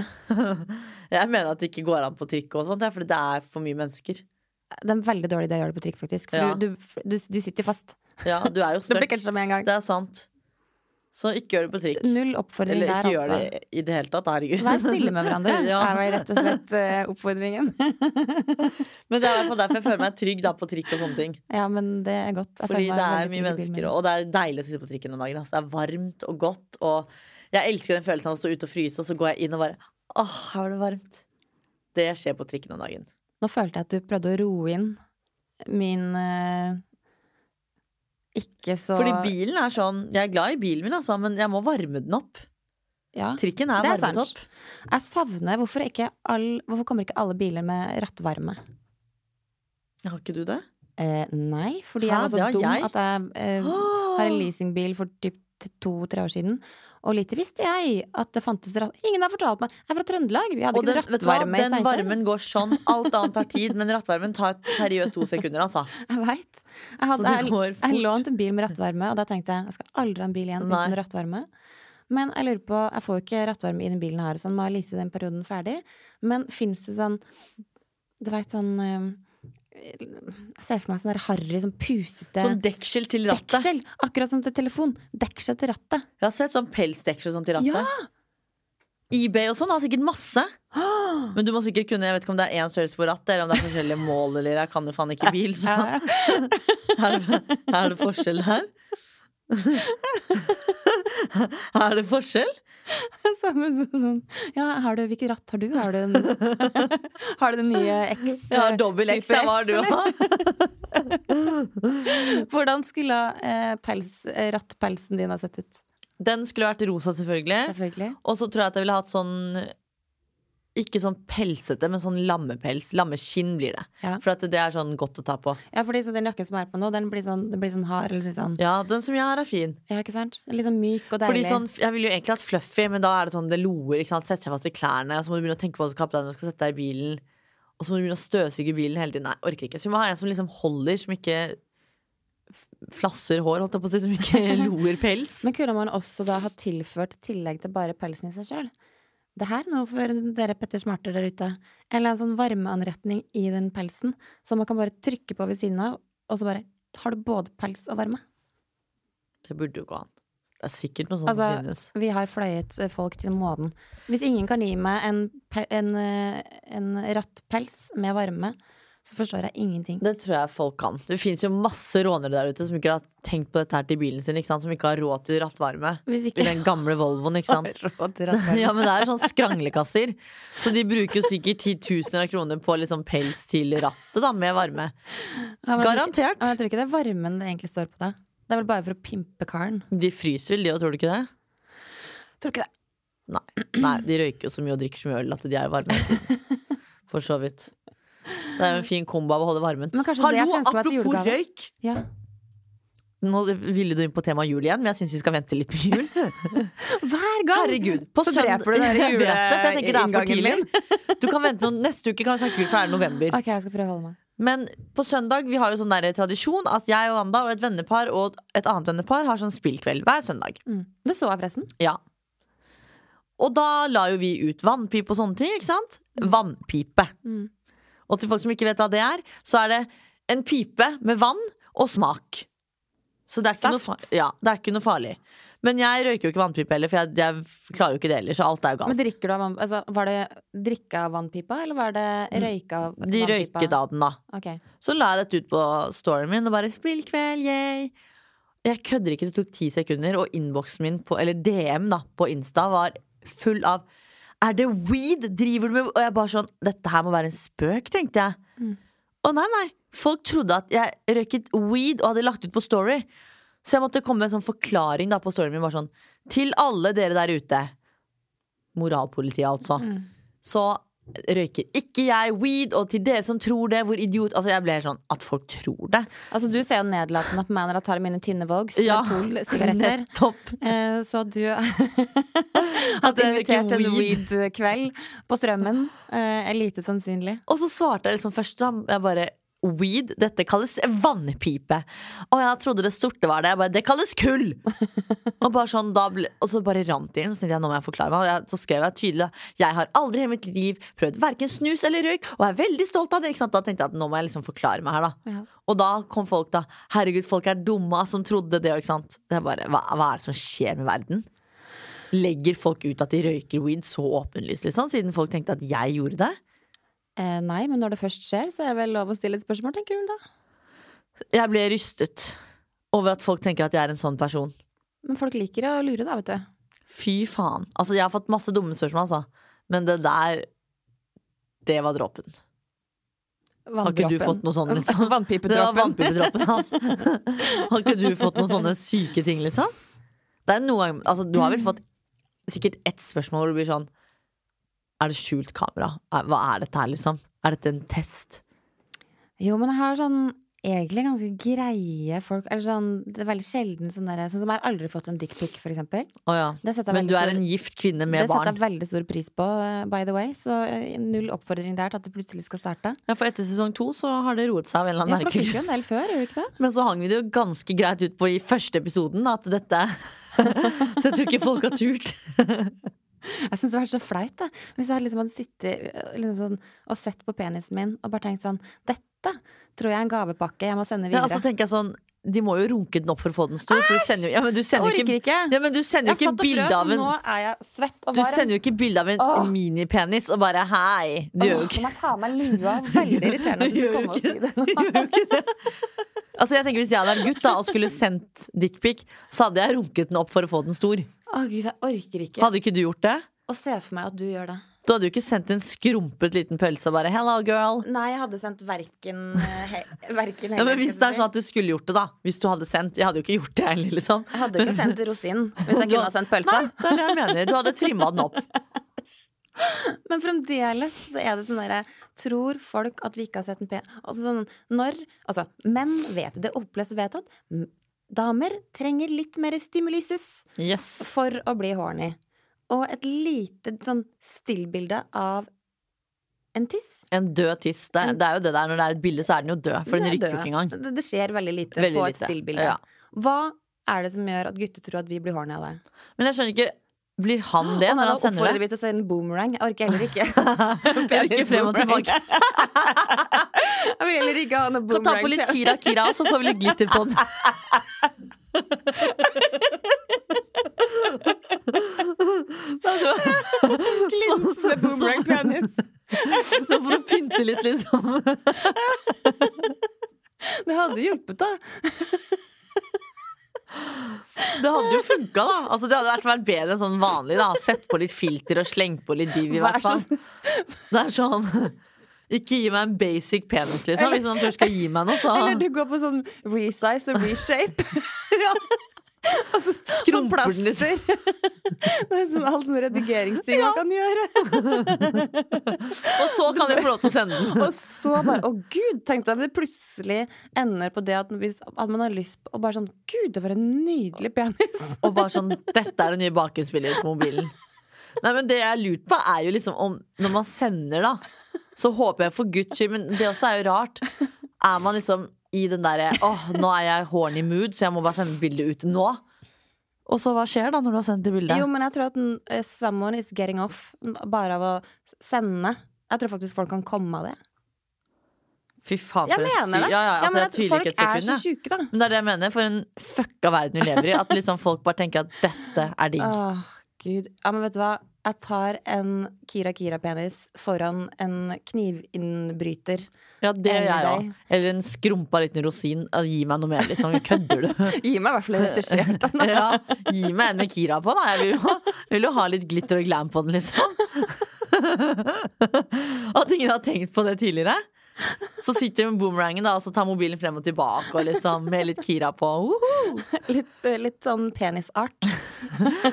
Speaker 1: Jeg mener at det ikke går an på trikk og sånt, ja, fordi det er for mye mennesker.
Speaker 2: Det er en veldig dårlig idé å gjøre det på trikk, faktisk. For
Speaker 1: Ja.
Speaker 2: du, du, du sitter fast.
Speaker 1: Ja, du er jo
Speaker 2: Du blir
Speaker 1: stuck.
Speaker 2: catcha med en gang.
Speaker 1: [LAUGHS] Det er sant. Så ikke gjør det på trikk.
Speaker 2: Null oppfordring
Speaker 1: Eller
Speaker 2: der,
Speaker 1: ikke gjør
Speaker 2: altså.
Speaker 1: det i det hele tatt. Herregud.
Speaker 2: Vær snille med hverandre,
Speaker 1: Ja.
Speaker 2: er vel rett og slett eh, oppfordringen.
Speaker 1: [LAUGHS]
Speaker 2: [LAUGHS]
Speaker 1: Men det er i hvert fall derfor jeg føler meg trygg da, på trikk og sånne ting.
Speaker 2: Ja, men det er godt. Jeg
Speaker 1: Fordi
Speaker 2: føler meg
Speaker 1: det er mye
Speaker 2: veldig trygg i bilen
Speaker 1: mennesker,
Speaker 2: min.
Speaker 1: og det er deilig å sitte på trikken om dagen. ass. Det er varmt og godt, og jeg elsker den følelsen av å stå ute og fryse, og så går jeg inn og bare Åh, her var det varmt. Det skjer på trikken om dagen.
Speaker 2: Nå følte jeg at du prøvde å roe inn min eh, ikke så
Speaker 1: Fordi bilen er sånn Jeg er glad i bilen min, altså, men jeg må varme den opp.
Speaker 2: ja.
Speaker 1: Trikken er,
Speaker 2: Det er
Speaker 1: varmet
Speaker 2: sant.
Speaker 1: opp.
Speaker 2: Jeg savner hvorfor, ikke all, hvorfor kommer ikke alle biler med rattvarme?
Speaker 1: Har ikke du det?
Speaker 2: Eh, nei, fordi
Speaker 1: Hæ,
Speaker 2: jeg var så
Speaker 1: det har
Speaker 2: dum
Speaker 1: jeg.
Speaker 2: at jeg eh, har en leasingbil for typ to-tre år siden. Og lite visste jeg at det fantes ratt... Ingen har fortalt meg! Jeg er fra Trøndelag! Vi hadde
Speaker 1: Og den,
Speaker 2: ikke
Speaker 1: vet du hva,
Speaker 2: rattvarme i
Speaker 1: den
Speaker 2: Steinkjer.
Speaker 1: varmen går sånn. Alt annet tar tid, men rattvarmen tar seriøst to sekunder, altså.
Speaker 2: Jeg veit. Jeg,
Speaker 1: Så
Speaker 2: hadde-
Speaker 1: det
Speaker 2: jeg,
Speaker 1: går fort.
Speaker 2: jeg lånte en bil med rattvarme, og da tenkte jeg jeg skal aldri ha en bil igjen
Speaker 1: Nei.
Speaker 2: uten rattvarme. Men jeg lurer på, jeg får jo ikke rattvarme i den bilen her, så jeg må lease den perioden ferdig. Men fins det sånn Du veit sånn eh, Jeg ser for meg sånn der harry, sånn pusete
Speaker 1: Sånn deksel til rattet.
Speaker 2: Deksel! Akkurat som til telefon. Deksel til
Speaker 1: [GASPS]
Speaker 2: rattet.
Speaker 1: Jeg har sett sånn pelsdeksel sånn til rattet.
Speaker 2: Ja!
Speaker 1: eBay og sånn har sikkert masse.
Speaker 2: Ah!
Speaker 1: Men du må sikkert kunne, jeg vet ikke om det er én størrelse på rattet, eller om det er forskjellige
Speaker 2: [LAUGHS]
Speaker 1: mål, eller jeg kan jo faen ikke bil, så
Speaker 2: Ja, ja.
Speaker 1: [LAUGHS]
Speaker 2: [LAUGHS]
Speaker 1: er det, er det forskjell her? [LAUGHS] Er det forskjell?
Speaker 2: Samme som sånn Ja, har du, hvilket ratt har du? Har du,
Speaker 1: [LAUGHS]
Speaker 2: en, [LAUGHS] har du den nye X?
Speaker 1: Jeg har dobbel X,
Speaker 2: Super
Speaker 1: jeg, hva har du?
Speaker 2: eller? Hvordan skulle eh, pels, eh, rattpelsen din ha sett ut?
Speaker 1: Den skulle vært rosa, selvfølgelig.
Speaker 2: Selvfølgelig.
Speaker 1: Og så tror jeg at jeg ville hatt sånn ikke sånn pelsete, men sånn lammepels. Lammeskinn blir det.
Speaker 2: Ja.
Speaker 1: For at det er sånn godt å ta på.
Speaker 2: Ja, fordi så den jakken som jeg er på nå, den blir sånn, den blir sånn hard. Eller sånn,
Speaker 1: Ja, den som jeg har, er fin.
Speaker 2: ja, ikke sant? Litt sånn myk og
Speaker 1: Fordi
Speaker 2: deilig.
Speaker 1: sånn, Jeg ville jo egentlig hatt fluffy, men da er det sånn det loer. ikke sant? Sette seg fast i klærne, så må du begynne å tenke på hva du skal ha på deg når du skal sette deg i bilen. Og så må du begynne å støvsuge bilen hele tiden. Nei, orker ikke. Så vi må ha en som liksom holder, som ikke f- flasser hår, holdt jeg på å si, som
Speaker 2: [LAUGHS]
Speaker 1: ikke loer pels.
Speaker 2: Men kunne man også da ha tilført tillegg til bare pelsen i seg sjøl? Det her nå for dere Petter Smarter der ute. En eller annen sånn varmeanretning i den pelsen som man kan bare trykke på ved siden av, og så bare har du både pels og varme.
Speaker 1: Det burde jo gå an. Det er sikkert noe sånt
Speaker 2: Altså-
Speaker 1: som finnes.
Speaker 2: Vi har fløyet eh, folk til månen. Hvis ingen kan gi meg en, pe- en, eh, en rattpels med varme, så forstår jeg ingenting.
Speaker 1: Det tror jeg folk kan. Det fins jo masse rånere der ute som ikke har tenkt på dette her til bilen sin, ikke sant? som ikke har råd til rattvarme.
Speaker 2: Hvis
Speaker 1: I
Speaker 2: ikke
Speaker 1: den gamle Volvoen, ikke
Speaker 2: [LAUGHS]
Speaker 1: sant.
Speaker 2: Råd til rattvarme.
Speaker 1: Ja, men det er sånn skranglekasser. Så de bruker jo sikkert titusener av kroner på liksom pels til rattet, da, med varme.
Speaker 2: Ja, men jeg tror ikke-
Speaker 1: Garantert.
Speaker 2: ja, men Jeg tror ikke det er varmen det egentlig står på da. Det er vel bare for å pimpe karen.
Speaker 1: De fryser vel, de òg, tror du ikke det?
Speaker 2: Tror ikke det.
Speaker 1: Nei. Nei, de røyker jo så mye og drikker så mye øl at de er varme. hele tiden. For så vidt. Det er jo en fin kombo av å holde varmen.
Speaker 2: Men kanskje det
Speaker 1: Hallo,
Speaker 2: jeg ønsker meg
Speaker 1: apropos
Speaker 2: til julegave.
Speaker 1: røyk!
Speaker 2: Ja.
Speaker 1: Nå ville du inn på temaet jul igjen, men jeg syns vi skal vente litt med jul.
Speaker 2: Hver hver gang!
Speaker 1: Herregud, på
Speaker 2: på så
Speaker 1: søndag-
Speaker 2: [LAUGHS] dreper du den
Speaker 1: Jeg vet det, for jeg tenker det er for
Speaker 2: juleinngangen min.
Speaker 1: Du kan vente noen, Neste uke kan vi snakke ut, for det er november.
Speaker 2: Ok, jeg skal prøve å holde meg.
Speaker 1: Men på søndag vi har jo sånn der tradisjon at jeg og Wanda og et vennepar og et annet vennepar har sånn spillkveld hver søndag.
Speaker 2: Mm. Det så jeg forresten.
Speaker 1: Ja. Og da la jo vi ut vannpipe og sånne ting, ikke sant? Vannpipe.
Speaker 2: Mm.
Speaker 1: Og til folk som ikke vet hva det er, så er det en pipe med vann og smak. Så det er ikke, noe,
Speaker 2: Saft.
Speaker 1: fa- ja, det er ikke noe farlig. Men jeg røyker jo ikke vannpipe heller, for jeg, jeg klarer jo ikke det heller. Så alt er jo
Speaker 2: Men
Speaker 1: galt.
Speaker 2: drikker du av vann... Altså, var det drikka av vannpipa, eller var det røyka av
Speaker 1: De
Speaker 2: vannpipa?
Speaker 1: røyket av den, da.
Speaker 2: Ok.
Speaker 1: Så la jeg dette ut på storyen min og bare 'spillkveld, yay'. Jeg kødder ikke, det tok ti sekunder, og innboksen min på, eller DM da, på Insta var full av 'er det weed? Driver du med Og jeg bare sånn 'dette her må være en spøk', tenkte jeg.
Speaker 2: Mm.
Speaker 1: Og nei, nei. Folk trodde at jeg røyket weed og hadde lagt ut på Story. Så jeg måtte komme med en sånn forklaring da på storyen min. Bare sånn, Til alle dere der ute. Moralpolitiet, altså
Speaker 2: Mm.
Speaker 1: så røyker ikke jeg weed, og til dere som tror det, hvor idiot Altså, jeg ble helt sånn at folk tror det.
Speaker 2: Altså, du ser jo nedlatende på meg når jeg tar mine tynne vogs
Speaker 1: Ja.
Speaker 2: med to sigaretter.
Speaker 1: [LAUGHS] Nettopp.
Speaker 2: Eh, så du hadde
Speaker 1: jeg røyker
Speaker 2: invitert en
Speaker 1: weed.
Speaker 2: weed-kveld på Strømmen. Eh, er lite sannsynlig.
Speaker 1: Og så svarte jeg liksom først, da. Jeg bare Weed, dette kalles vannpipe. Og jeg trodde det sorte var det. Jeg bare, det kalles kull! og, bare sånn, da ble, og så bare rant det inn. Så tenkte jeg, nå må jeg forklare meg. Og jeg, så skrev jeg tydelig da jeg har aldri i mitt liv prøvd verken snus eller røyk, og er veldig stolt av det. Ikke sant? Da tenkte jeg at nå må jeg liksom forklare meg her, da.
Speaker 2: Ja.
Speaker 1: Og da kom folk da Herregud, folk er dumme ass, som trodde det. Ikke sant? Det er bare, hva, hva er det som skjer med verden? Legger folk ut at de røyker weed så åpenlyst, liksom? Siden folk tenkte at jeg gjorde det?
Speaker 2: Eh, nei, men når det først skjer, så er det vel lov å stille et spørsmål, tenker du da.
Speaker 1: Jeg ble rystet over at folk tenker at jeg er en sånn person.
Speaker 2: Men folk liker å lure, da, vet du.
Speaker 1: Fy faen. Altså, jeg har fått masse dumme spørsmål, altså. Men det der Det var dråpen. Har ikke du
Speaker 2: Vanndråpen.
Speaker 1: fått noe sånn,
Speaker 2: [LAUGHS]
Speaker 1: liksom? Det var
Speaker 2: Vannpipedråpen.
Speaker 1: vannpipedråpen hans. [LAUGHS] har ikke du fått noen sånne syke ting, liksom? Det er noe, altså, du har vel fått sikkert ett spørsmål hvor det blir sånn Er det skjult kamera? Er- Hva er dette her, liksom? Er dette en test?
Speaker 2: Jo, men jeg har sånn egentlig ganske greie folk Eller sånn, det er veldig sjelden sånn derre Sånn som jeg har aldri fått en dickpic, for eksempel.
Speaker 1: Å ja.
Speaker 2: Det setter jeg
Speaker 1: Men du
Speaker 2: veldig
Speaker 1: er
Speaker 2: stor
Speaker 1: en gift kvinne
Speaker 2: det
Speaker 1: med
Speaker 2: setter
Speaker 1: barn.
Speaker 2: jeg veldig stor pris på, eh, by the way. Så eh, null oppfordring der til at det plutselig skal starte.
Speaker 1: Ja, for etter sesong to så har det roet seg av en eller
Speaker 2: Ja,
Speaker 1: annen
Speaker 2: for dere fikk jo
Speaker 1: merkelig
Speaker 2: en del før, gjorde vi ikke det?
Speaker 1: Men så hang vi det jo ganske greit ut på i første episoden at dette [LAUGHS] Så jeg tror ikke folk har turt.
Speaker 2: Jeg syns det hadde vært så flaut. da Hvis jeg hadde liksom hadde sittet eh, liksom sånn, og sett på penisen min og bare tenkt sånn Dette tror jeg er en gavepakke jeg må sende
Speaker 1: Ja,
Speaker 2: videre.
Speaker 1: altså tenker jeg sånn De må jo runke den opp for å få den stor. For du sender jo, ja, men du
Speaker 2: jeg
Speaker 1: sender jo
Speaker 2: orker
Speaker 1: ikke
Speaker 2: ikke!
Speaker 1: ja, men du sender jo
Speaker 2: Jeg
Speaker 1: ikke
Speaker 2: satt og
Speaker 1: bilde
Speaker 2: frøs,
Speaker 1: av
Speaker 2: og
Speaker 1: en
Speaker 2: nå er jeg svett og
Speaker 1: Du
Speaker 2: varm.
Speaker 1: sender jo ikke bilde av en
Speaker 2: Åh.
Speaker 1: minipenis og bare 'hei'. Du gjør jo ikke
Speaker 2: Åh, Nå må jeg ta av meg lua. [LAUGHS] Veldig irriterende at du
Speaker 1: gjør jo
Speaker 2: skal komme og si
Speaker 1: ikke
Speaker 2: det.
Speaker 1: Du gjør jo ikke det. Altså jeg tenker Hvis jeg hadde vært gutt da og skulle sendt dickpic, så hadde jeg runket den opp for å få den stor.
Speaker 2: [LAUGHS] Å gud, jeg orker ikke
Speaker 1: Hadde ikke du gjort det?
Speaker 2: å se for meg at du gjør det.
Speaker 1: Du hadde jo ikke sendt en skrumpet liten pølse og bare 'hello, girl'.
Speaker 2: Nei, jeg hadde sendt verken eh, he- Verken
Speaker 1: Ja, men
Speaker 2: heller,
Speaker 1: Hvis det
Speaker 2: skal
Speaker 1: er
Speaker 2: jeg
Speaker 1: sånn at du skulle gjort det, da. Hvis du hadde sendt. Jeg hadde jo ikke gjort det heller, liksom.
Speaker 2: si. Jeg hadde jo ikke sendt rosinen [LAUGHS] hvis jeg kunne ha sendt pølsa.
Speaker 1: Nei, det er det jeg mener. [LAUGHS] Du hadde trimma den opp.
Speaker 2: Men fremdeles så er det sånn derre Tror folk at vi ikke har sett en P... Altså sånn når Altså, menn vet det. er Opplest vedtatt. M- Damer trenger litt mer stimulisus
Speaker 1: Yes.
Speaker 2: for å bli horny. Og et lite sånn stillbilde av en tiss
Speaker 1: En død tiss. Det, det er jo det der. Når det er et bilde, så er den jo død. For den
Speaker 2: Det er
Speaker 1: rykker jo
Speaker 2: død.
Speaker 1: ikke engang.
Speaker 2: Det, det skjer veldig lite
Speaker 1: Veldig
Speaker 2: på et
Speaker 1: lite,
Speaker 2: stillbilde.
Speaker 1: ja.
Speaker 2: Hva er det som gjør at gutter tror at vi blir horny av det?
Speaker 1: Men jeg skjønner ikke Blir han det
Speaker 2: Og
Speaker 1: når
Speaker 2: nå
Speaker 1: han sender
Speaker 2: oppfordrer
Speaker 1: det?
Speaker 2: vi til å se en boomerang. Jeg orker heller
Speaker 1: [LAUGHS]
Speaker 2: ikke.
Speaker 1: Rykker frem og
Speaker 2: Boomerang.
Speaker 1: tilbake.
Speaker 2: [LAUGHS] Jeg vil heller ikke ha noe
Speaker 1: Kan ta på litt Kira
Speaker 2: boomerang.
Speaker 1: Kira, og så får vi litt glitter på den. sånn.
Speaker 2: Glinsende boomerang penis.
Speaker 1: [LAUGHS] Så for å pynte litt, liksom.
Speaker 2: Det hadde hjulpet, da.
Speaker 1: Det hadde jo funka, da. Altså, det hadde vært- vært bedre enn sånn vanlig. da Sett på litt filter og sleng på litt div, i
Speaker 2: Vær
Speaker 1: hvert fall. Det er sånn Ikke gi meg en basic penis, liksom. Hvis man først skal gi meg noe, så
Speaker 2: [LAUGHS] Eller du går på sånn resize og reshape.
Speaker 1: Skrumper den liksom.
Speaker 2: [LAUGHS] Det er sånn, all sånn redigeringsting man kan gjøre.
Speaker 1: Og så kan vi få lov til å sende den.
Speaker 2: Og så bare Å, gud! Tenkte jeg, men det plutselig ender på det at hvis at man har lyst på Og bare sånn Gud, det var en nydelig pianist!
Speaker 1: Og bare sånn Dette er den nye bakgrunnsspilleren på mobilen. Nei, men Det jeg har lurt på, er jo liksom om Når man sender, da, så håper jeg for guds skyld Men det også er jo rart. Er man liksom i den derre åh, nå er jeg horny mood, så jeg må bare sende bildet ut nå. Og så hva skjer da når du har sendt det bildet?
Speaker 2: Jo, men jeg tror at n- eh, someone is getting off bare av å sende. Jeg tror faktisk folk kan komme av det.
Speaker 1: Fy faen,
Speaker 2: Jeg
Speaker 1: for en
Speaker 2: mener
Speaker 1: syk-
Speaker 2: det!
Speaker 1: Ja, ja, altså,
Speaker 2: men
Speaker 1: jeg
Speaker 2: at
Speaker 1: tviler
Speaker 2: folk
Speaker 1: ikke et sekund.
Speaker 2: er så
Speaker 1: jeg.
Speaker 2: sjuke, da.
Speaker 1: Men det er det jeg mener. For en fucka verden vi lever i. At liksom folk bare tenker at dette er digg.
Speaker 2: Åh, gud. Ja, men vet du hva? Jeg tar en Kira Kira-penis foran en
Speaker 1: [LAUGHS]
Speaker 2: knivinnbryter.
Speaker 1: Ja, det gjør
Speaker 2: Any
Speaker 1: jeg òg.
Speaker 2: day.
Speaker 1: Eller en skrumpa liten rosin. Ja, Gi meg noe mer, liksom. Kødder du?
Speaker 2: Gi meg i hvert fall en retusjert
Speaker 1: [LAUGHS]
Speaker 2: [LAUGHS] en.
Speaker 1: ja, gi meg en med Kira på, da. Jeg vil jo, vil jo ha litt glitter og glam på den, liksom. [LAUGHS] At ingen har tenkt på det tidligere. Så sitter vi med boomerangen da, og så tar mobilen frem og tilbake og liksom med litt Kira på. Uhu.
Speaker 2: Litt, eh, litt sånn penisart.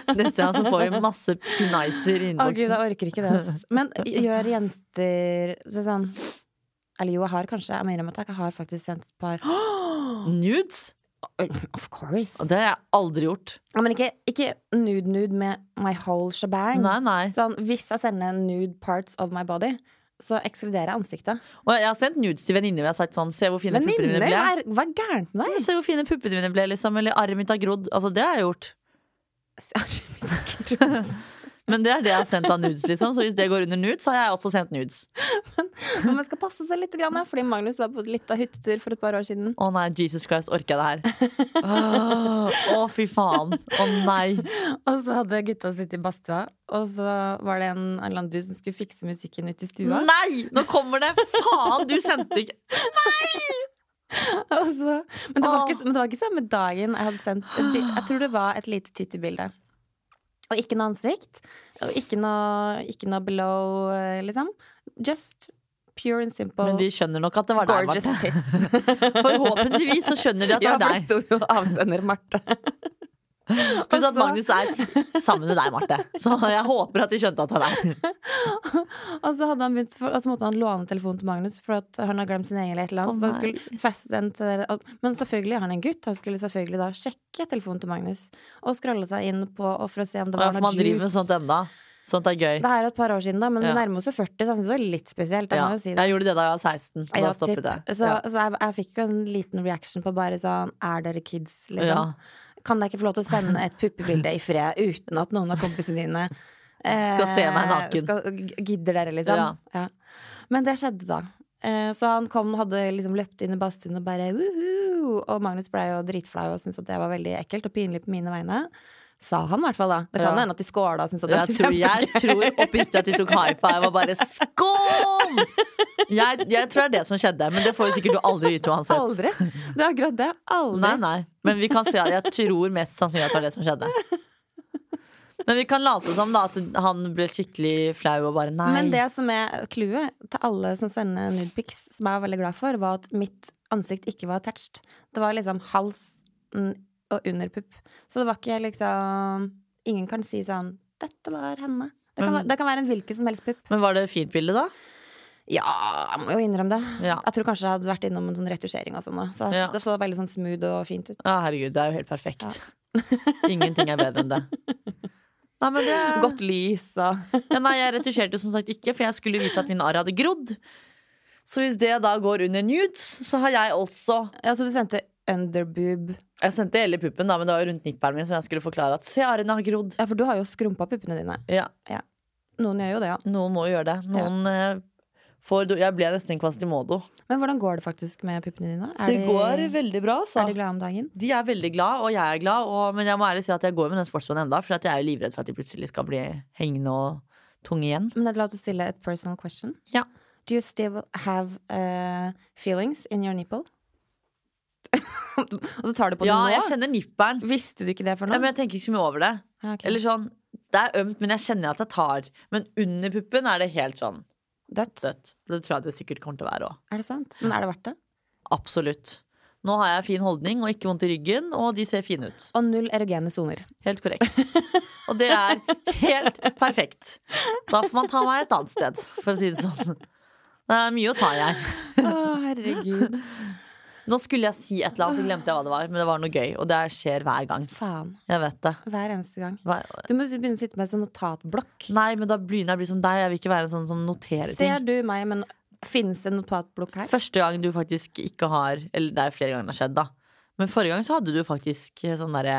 Speaker 1: Neste gang så får vi masse nicer i
Speaker 2: Å gud,
Speaker 1: innboksen.
Speaker 2: jeg orker ikke det. ass.
Speaker 1: [LAUGHS]
Speaker 2: Men gjør jenter så sånn Eller jo, jeg har kanskje Jeg må innrømme at jeg har faktisk sendt et
Speaker 1: [GASPS]
Speaker 2: par
Speaker 1: Nudes?
Speaker 2: Of course!
Speaker 1: Og det har jeg aldri gjort.
Speaker 2: Ja, men ikke, ikke nude nude med my whole shebang.
Speaker 1: Nei, nei.
Speaker 2: Sånn, hvis jeg sender nude parts of my body, så ekskluderer jeg ansiktet.
Speaker 1: Og jeg har sendt nudes til venninner hvor jeg har sagt sånn Se hvor fine puppene
Speaker 2: Venninner?
Speaker 1: mine ble.
Speaker 2: Hva er- hva er gærent [LAUGHS] med deg?
Speaker 1: Se hvor fine puppene mine ble, liksom. Eller arret mitt har grodd. Altså, det har jeg gjort.
Speaker 2: [LAUGHS]
Speaker 1: Men det er det jeg har sendt av nudes, liksom. Så hvis det går under nudes, så har jeg også sendt nudes.
Speaker 2: Men man skal passe seg litt, grann, ja, fordi Magnus var på litt av hyttetur for et par år siden.
Speaker 1: Å nei, Jesus Christ, orker jeg det her?
Speaker 2: [LAUGHS]
Speaker 1: Åh, Å, fy faen. Å nei.
Speaker 2: Og så hadde gutta sittet i badstua, og så var det en en eller annen du som skulle fikse musikken ute i stua.
Speaker 1: Nei! Nå kommer det! Faen, du sendte ikke
Speaker 2: [LAUGHS] Og så, Altså, men, det var
Speaker 1: Åh.
Speaker 2: ikke, men det var ikke samme dagen jeg hadde sendt et bilde. Jeg tror det var et lite tittebilde. Og ikke noe ansikt. Og ikke noe, ikke noe below, eh, liksom. Just pure and simple.
Speaker 1: Men de skjønner nok at det var deg,
Speaker 2: Gorgeous
Speaker 1: Marte.
Speaker 2: tits.
Speaker 1: Forhåpentligvis så skjønner de at [LAUGHS] det
Speaker 2: Ja,
Speaker 1: er
Speaker 2: for det
Speaker 1: deg.
Speaker 2: sto jo avsender
Speaker 1: [LAUGHS]
Speaker 2: Marte.
Speaker 1: Pluss
Speaker 2: altså-
Speaker 1: at Magnus er sammen med deg, Marte. Så jeg håper at de skjønte at det var deg.
Speaker 2: Og så, hadde han begynt, for, og så måtte han låne telefonen til Magnus for at han har glemt sin egen eller et eller annet.
Speaker 1: Å,
Speaker 2: så han
Speaker 1: nei.
Speaker 2: skulle feste den til dere. og- Men selvfølgelig er han en gutt. Han skulle selvfølgelig da sjekke telefonen til Magnus og scrolle seg inn på og for å se om det
Speaker 1: Ja,
Speaker 2: var
Speaker 1: for
Speaker 2: noe
Speaker 1: man driver med
Speaker 2: juice.
Speaker 1: sånt enda. Sånt er gøy.
Speaker 2: Det her er et par år siden, da, men
Speaker 1: Ja.
Speaker 2: vi nærmer oss jo 40, så jeg synes det var litt spesielt. Jeg
Speaker 1: Ja,
Speaker 2: må jo si det.
Speaker 1: jeg gjorde det da jeg var 16. Da
Speaker 2: Ja,
Speaker 1: stoppet
Speaker 2: typ.
Speaker 1: det.
Speaker 2: Så,
Speaker 1: Ja.
Speaker 2: så jeg, jeg fikk jo en liten reaction på bare sånn Er dere kids,
Speaker 1: Ja.
Speaker 2: liksom? Kan jeg ikke få lov til å sende et puppebilde i fred uten at noen av kompisene dine eh,
Speaker 1: [LAUGHS] Skal se meg naken.
Speaker 2: skal- g- gidder dere, liksom?
Speaker 1: Ja.
Speaker 2: Ja. Men det skjedde, da. Eh, så han kom hadde liksom løpt inn i badstuen og bare «Woohoo!» Og Magnus ble jo dritflau og syntes at det var veldig ekkelt og pinlig på mine vegne. Sa han i hvert fall, da. Det kan
Speaker 1: Ja.
Speaker 2: hende at de skåla og syntes at det
Speaker 1: Jeg tror, jeg tror oppriktig at de tok high five og bare 'skål'! Jeg, jeg tror det er det som skjedde, men det får jo sikkert du aldri vite uansett.
Speaker 2: Aldri! Det er akkurat det. Aldri.
Speaker 1: Nei, nei. Men vi kan si at jeg tror mest sannsynlig at det var det som skjedde. Men vi kan late som da at han ble skikkelig flau og bare nei.
Speaker 2: Men det som er clouet til alle som sender nudepics, som jeg var veldig glad for, var at mitt ansikt ikke var attached. Det var liksom hals mm, og underpupp. Så det var ikke liksom Ingen kan si sånn 'Dette var henne'. Det kan,
Speaker 1: Men-
Speaker 2: være- det kan være en hvilken som helst pupp.
Speaker 1: Men var det et fint bilde, da?
Speaker 2: Ja, jeg må jo innrømme det.
Speaker 1: Ja.
Speaker 2: Jeg tror kanskje jeg hadde vært innom en sånn retusjering og sånn. da. Så
Speaker 1: Ja.
Speaker 2: det så veldig sånn smooth og fint ut.
Speaker 1: Ja, herregud, det er jo helt perfekt. Ingenting er bedre enn det. Nei, men det
Speaker 2: Godt lys og
Speaker 1: [LAUGHS] Ja, nei, jeg retusjerte jo som sagt ikke, for jeg skulle vise at mine arr hadde grodd. Så hvis det da går under nudes, så har jeg også
Speaker 2: Ja, så du sendte underboob.
Speaker 1: Jeg sendte hele puppen, da, men det var jo rundt nippelen min, som jeg skulle forklare at se, arrene har grodd.
Speaker 2: Ja, for du har jo skrumpa puppene dine.
Speaker 1: Ja,
Speaker 2: Noen gjør jo det, ja.
Speaker 1: noen må jo gjøre det. Noen eh, får Jeg ble nesten en kvastimodo.
Speaker 2: Men hvordan går det faktisk med puppene dine? Er
Speaker 1: Det
Speaker 2: de-
Speaker 1: går veldig bra, sa
Speaker 2: Er de glade om dagen?
Speaker 1: De er veldig glad, og jeg er glad, og, men jeg må ærlig si at jeg går med den sportsmannen enda, for at jeg er jo livredd for at de plutselig skal bli hengende og tunge igjen.
Speaker 2: Men er det lov til å stille et personal question?
Speaker 1: Ja.
Speaker 2: Do you still have uh, feelings in your nipple? [LAUGHS] Og så tar du på det
Speaker 1: Ja,
Speaker 2: nå?
Speaker 1: jeg kjenner nipperen,
Speaker 2: Visste du ikke det for
Speaker 1: ja,
Speaker 2: noe?
Speaker 1: men jeg tenker ikke så mye over det.
Speaker 2: Ja, ok.
Speaker 1: Eller sånn, det er ømt, men jeg kjenner at jeg tar. Men under puppen er det helt sånn
Speaker 2: Dødt?
Speaker 1: dødt. Det tror jeg det sikkert kommer til å være òg.
Speaker 2: Er det sant? Men er det verdt det?
Speaker 1: Absolutt. Nå har jeg fin holdning og ikke vondt i ryggen, og de ser fine ut.
Speaker 2: Og null erogene
Speaker 1: [LAUGHS]
Speaker 2: soner.
Speaker 1: Helt korrekt. Og det er helt perfekt. Da får man ta meg et annet sted, for å si det sånn. Det er mye å ta, jeg.
Speaker 2: Å, herregud.
Speaker 1: Nå skulle jeg si et eller annet, så glemte jeg hva det var. Men det var noe gøy, og det skjer hver gang.
Speaker 2: Faen.
Speaker 1: Jeg vet det.
Speaker 2: Hver eneste gang.
Speaker 1: Hver-
Speaker 2: Du må begynne å sitte med en sånn notatblokk.
Speaker 1: Nei, men da begynner jeg å bli som deg. Jeg vil ikke være en sånn som noterer ting.
Speaker 2: Ser du meg, men finnes det en notatblokk her?
Speaker 1: Første gang du faktisk ikke har Eller det er flere ganger det har skjedd, da. Men forrige gang så hadde du faktisk sånn derre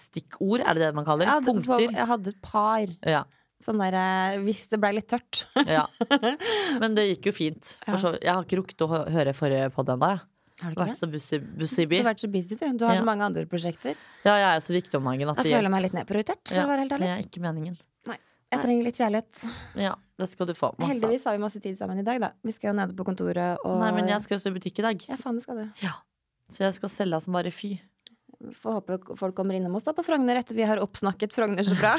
Speaker 1: stikkord, er det det man kaller?
Speaker 2: Jeg hadde,
Speaker 1: Punkter.
Speaker 2: jeg hadde et par.
Speaker 1: Ja,
Speaker 2: Sånn der eh, Hvis det ble litt tørt. [LAUGHS]
Speaker 1: ja. Men det gikk jo fint.
Speaker 2: Ja.
Speaker 1: For så, jeg har ikke rukket å hø- høre forrige podd ennå. jeg.
Speaker 2: Har du ikke
Speaker 1: Vært
Speaker 2: det?
Speaker 1: så busy, busy
Speaker 2: Du
Speaker 1: bee.
Speaker 2: har vært så busy, du. Du har
Speaker 1: Ja.
Speaker 2: så mange andre prosjekter.
Speaker 1: Ja, jeg er så viktig om dagen at
Speaker 2: Jeg
Speaker 1: det
Speaker 2: føler
Speaker 1: hjelper.
Speaker 2: meg litt nedprioritert, for
Speaker 1: Ja,
Speaker 2: å være helt
Speaker 1: Det
Speaker 2: ærlig.
Speaker 1: er ikke meningen.
Speaker 2: Jeg trenger litt kjærlighet.
Speaker 1: Ja, det skal du få. Masse. av.
Speaker 2: Heldigvis har vi masse tid sammen i dag, da. Vi skal jo nede på kontoret og
Speaker 1: Nei, men jeg skal jo stå i butikk i dag.
Speaker 2: Ja, faen, det skal du.
Speaker 1: Ja. Så jeg skal selge som bare fy.
Speaker 2: Får håpe folk kommer innom oss da på Frogner etter vi har oppsnakket Frogner så
Speaker 1: [LAUGHS]
Speaker 2: bra.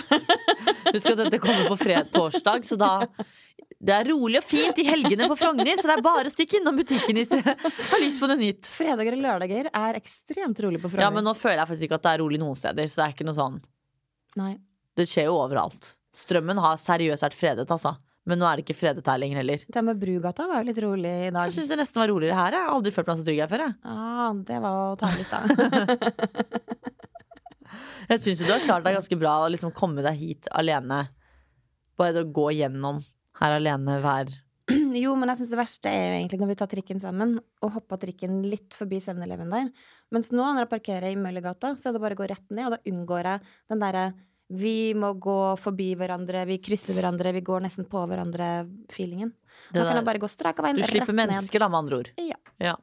Speaker 1: Husk at dette kommer på fred torsdag, så da Det er rolig og fint i helgene på Frogner, så det er bare å stikke innom butikken hvis dere har lyst på noe nytt.
Speaker 2: Fredager og lørdager er ekstremt rolig på Frogner.
Speaker 1: Ja, men nå føler jeg faktisk ikke at det er rolig noen steder, så det er ikke noe sånn
Speaker 2: Nei.
Speaker 1: Det skjer jo overalt. Strømmen har seriøst vært fredet, altså. Men nå er det ikke fredet her lenger heller.
Speaker 2: Det med Brugata var jo litt rolig i dag.
Speaker 1: Jeg syns det nesten var roligere her. Jeg har aldri følt meg så trygg her før. Jeg,
Speaker 2: Ah, det var å ta litt, da.
Speaker 1: jeg syns jo du har klart deg ganske bra å liksom komme deg hit alene. Bare det å gå gjennom her alene hver
Speaker 2: [CLEARS THROAT] jo, men jeg syns det verste er jo egentlig når vi tar trikken sammen og hoppa trikken litt forbi 7-Eleven der. Mens nå når jeg parkerer i Møllergata, så er det bare å gå rett ned, og da unngår jeg den derre vi må gå forbi hverandre, vi krysser hverandre, vi går nesten på hverandre-feelingen.
Speaker 1: Det
Speaker 2: Nå kan
Speaker 1: der-
Speaker 2: jeg bare gå strak av veien
Speaker 1: Du
Speaker 2: rett
Speaker 1: slipper
Speaker 2: ned.
Speaker 1: mennesker, da, med andre ord.
Speaker 2: Ja.
Speaker 1: Ja.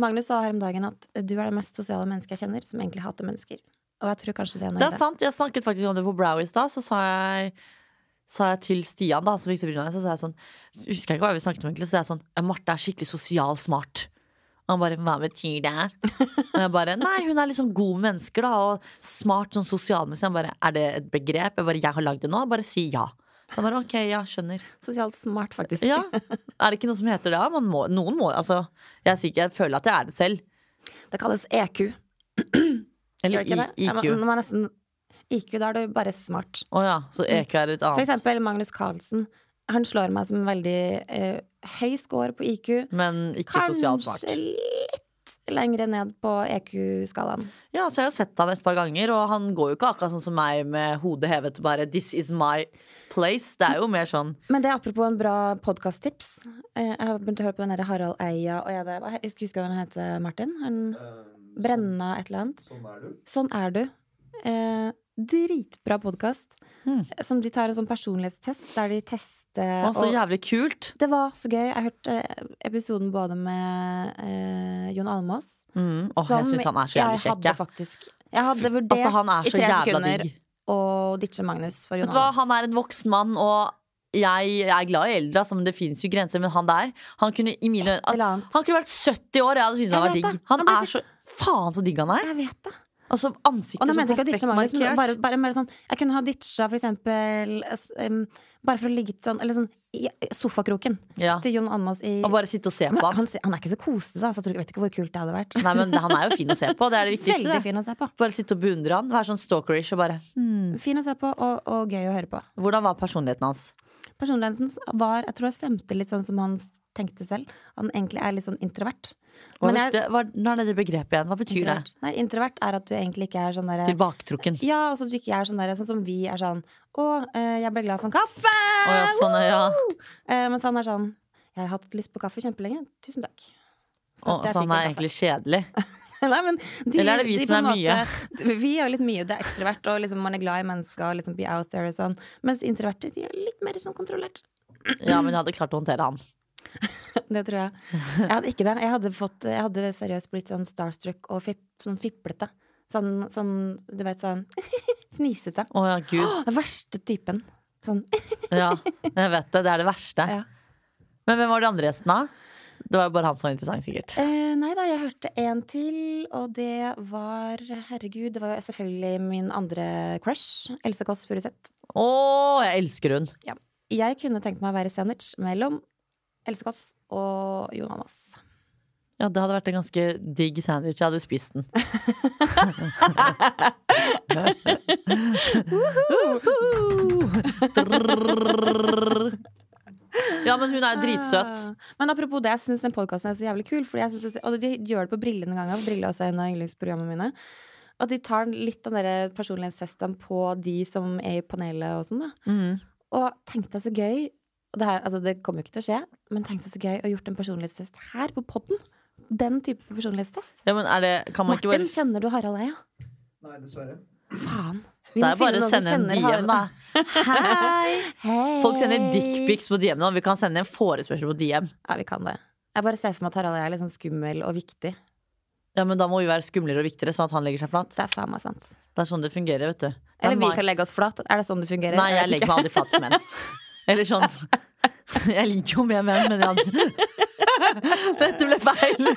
Speaker 2: Magnus sa her om dagen at du er det mest sosiale mennesket jeg kjenner, som egentlig hater mennesker. Og jeg tror kanskje det er noe
Speaker 1: Det
Speaker 2: i
Speaker 1: er sant. Jeg snakket faktisk om det på Brow i stad. Så sa jeg, sa jeg til Stian, da, som fikser brillene mine, så sa jeg sånn Husker jeg ikke hva vi snakket om egentlig, så jeg er sånn «Ja, Marte er skikkelig sosial smart. Og han bare Hva betyr det? Og jeg bare Nei, hun er liksom god med mennesker, da, og smart sånn sosialmessig. Han bare Er det et begrep? Jeg bare Jeg har lagd det nå. Bare si ja. Så han bare OK, ja, skjønner.
Speaker 2: Sosialt smart, faktisk.
Speaker 1: Ja. Er det ikke noe som heter det? Ja, Man må, noen må altså Jeg er sikker, jeg føler at jeg er det selv.
Speaker 2: Det kalles E EQ.
Speaker 1: Eller
Speaker 2: Gjør ikke det?
Speaker 1: I, IQ.
Speaker 2: Ja, men- men nesten, IQ, da er du bare smart.
Speaker 1: Å ja, så EQ er et
Speaker 2: For
Speaker 1: annet.
Speaker 2: eksempel Magnus Carlsen. Han slår meg som en veldig eh, høy score på IQ.
Speaker 1: Men ikke sosialt smart.
Speaker 2: Kanskje litt lengre ned på E EQ-skalaen.
Speaker 1: Ja, så jeg har sett han et par ganger, og han går jo ikke akkurat sånn som meg med hodet hevet og bare 'this is my place'. Det er jo mer sånn
Speaker 2: Men det er apropos en bra podkast-tips. Eh, jeg har begynt å høre på den der Harald Eia og jeg, det, hva- jeg husker ikke hva han heter, Martin. Han, Brenna et eller annet.
Speaker 3: Ehm, Sånn er du.
Speaker 2: Sånn er du. Eh, dritbra podkast.
Speaker 1: Mm.
Speaker 2: Som de tar en sånn personlighetstest, der de tester
Speaker 1: Å, så
Speaker 2: og-
Speaker 1: jævlig kult.
Speaker 2: Det var så gøy. Jeg hørte eh, episoden både med eh, Jon Almaas
Speaker 1: Mm. Åh, jeg syns han er så jævlig
Speaker 2: jeg
Speaker 1: kjekk.
Speaker 2: hadde
Speaker 1: jeg.
Speaker 2: faktisk Jeg hadde vurdert
Speaker 1: Altså, han er
Speaker 2: i
Speaker 1: så
Speaker 2: tre
Speaker 1: jævla
Speaker 2: sekunder
Speaker 1: digg.
Speaker 2: å ditche Magnus for
Speaker 1: Vet
Speaker 2: Jon
Speaker 1: du hva,
Speaker 2: Almaas.
Speaker 1: han er en voksen mann, og jeg, jeg er glad i eldre, altså, men det fins jo grenser. Men han der, han kunne i mine øyne
Speaker 2: eller
Speaker 1: al-
Speaker 2: annet.
Speaker 1: Han kunne vært 70 år, jeg hadde syntes han var
Speaker 2: Jeg vet
Speaker 1: digg.
Speaker 2: det.
Speaker 1: Han
Speaker 2: Han blir
Speaker 1: er så faen så digg han er.
Speaker 2: Jeg vet det.
Speaker 1: Altså
Speaker 2: Og
Speaker 1: ansiktet
Speaker 2: nå
Speaker 1: så
Speaker 2: mente jeg ikke å
Speaker 1: perfekt
Speaker 2: ditche Magnus, men
Speaker 1: markert.
Speaker 2: bare, bare, mer sånn, jeg kunne ha ditcha for eksempel eh, s- em, Bare for å ligge sånn, eller sånn i sofakroken
Speaker 1: ja.
Speaker 2: til Jon Almaas i
Speaker 1: Og bare sitte og se
Speaker 2: Men
Speaker 1: på han. [LAUGHS]
Speaker 2: han, ser- han er ikke så kosete, da, så jeg tror, jeg vet ikke hvor kult det hadde vært.
Speaker 1: Nei, men han er jo fin å se på. Det er det viktigste.
Speaker 2: Veldig
Speaker 1: det.
Speaker 2: fin å se på.
Speaker 1: Bare sitte og beundre han. Være sånn stalkerish og bare hmm.
Speaker 2: Fin å se på og, og gøy å høre på.
Speaker 1: Hvordan var personligheten hans?
Speaker 2: Personligheten var Jeg tror jeg stemte litt sånn som han tenkte selv. Han egentlig er litt sånn introvert.
Speaker 1: Hva,
Speaker 2: Men
Speaker 1: bet-
Speaker 2: jeg-
Speaker 1: hva, nå er det det begrepet igjen. Hva betyr det?
Speaker 2: Introvert. Nei, introvert er at du egentlig ikke er sånn derre
Speaker 1: Tilbaketrukken.
Speaker 2: ja, altså at du ikke er sånn der, sånn som vi er sånn Å, eh, jeg ble glad for en kaffe!
Speaker 1: Å ja, sånn, ja.
Speaker 2: Woo! Eh, mens han er sånn Jeg har hatt lyst på kaffe kjempelenge. Tusen takk.
Speaker 1: Å,
Speaker 2: Der
Speaker 1: så
Speaker 2: fikk
Speaker 1: han er
Speaker 2: jeg
Speaker 1: egentlig kjedelig.
Speaker 2: [LAUGHS] Nei, men de,
Speaker 1: Eller er det vi
Speaker 2: de
Speaker 1: som
Speaker 2: på en
Speaker 1: er mye?
Speaker 2: måte- Vi er jo litt mye. Det er ekstrovert, og liksom, man er glad i mennesker. Og liksom be out there og sånn Mens introverte de er litt mer sånn kontrollert. [LAUGHS]
Speaker 1: Ja, men jeg hadde klart å håndtere han.
Speaker 2: Det tror jeg. Jeg hadde ikke det. Jeg hadde, fått, jeg hadde seriøst blitt sånn starstruck og fipp, sånn fiplete. Sånn, sånn du vet, sånn [LAUGHS] fnisete.
Speaker 1: Å ja, gud.
Speaker 2: Den verste typen. Sånn
Speaker 1: Ja, jeg vet det. Det er det verste.
Speaker 2: Ja.
Speaker 1: Men hvem var de andre gjestene? Det var jo bare han som var interessant, sikkert.
Speaker 2: eh, Nei da, jeg hørte en til, og det var Herregud, det var jo selvfølgelig min andre crush. Else Kåss Furuseth.
Speaker 1: Å, jeg elsker hun.
Speaker 2: Jeg kunne tenkt meg å være sandwich mellom Else Kåss og Jon Almaas.
Speaker 1: Ja, det hadde vært en ganske digg sandwich. Jeg hadde spist den. Drrrr. ja, men hun er jo dritsøt.
Speaker 2: Ah. Men apropos det, jeg syns den podkasten er så jævlig kul. Fordi jeg synes det, og de gjør det på Brille denne gangen. for Brille er også en av yndlingsprogrammene mine. At de tar litt av den der personlighetstesten på de som er i panelet og sånn, da.
Speaker 1: Mhm.
Speaker 2: Og tenk deg så gøy og det, her, altså det kommer jo ikke til å skje, men tenk deg så gøy å gjort en personlighetstest her på podden. Den type personlighetstest.
Speaker 1: Ja, men er det, kan man ikke
Speaker 2: Martin,
Speaker 1: bare
Speaker 2: kjenner du Harald Eia?
Speaker 3: Nei, dessverre.
Speaker 2: Faen. Vi
Speaker 1: Det
Speaker 2: må
Speaker 1: er
Speaker 2: finne
Speaker 1: bare å
Speaker 2: noen som
Speaker 1: sende en
Speaker 2: kjenner
Speaker 1: DM,
Speaker 2: Harald.
Speaker 1: da. Hei!
Speaker 2: Hei.
Speaker 1: Folk sender dickpics på DM nå. Vi kan sende en forespørsel på DM.
Speaker 2: Ja, vi kan det. Jeg bare ser for meg at Harald Eia er litt sånn skummel og viktig.
Speaker 1: Ja, men da må vi være skumlere og viktigere, sånn at han legger seg flat.
Speaker 2: Det er faen meg sant.
Speaker 1: Det er sånn det fungerer, vet du. Det er
Speaker 2: Eller vi
Speaker 1: mar-
Speaker 2: kan legge oss flat. Er det sånn det fungerer?
Speaker 1: Nei, jeg
Speaker 2: vet
Speaker 1: legger
Speaker 2: ikke.
Speaker 1: meg aldri flat for menn. [LAUGHS] Eller sånn Jeg liker jo mer menn, men jeg hadde [LAUGHS] Dette ble feil.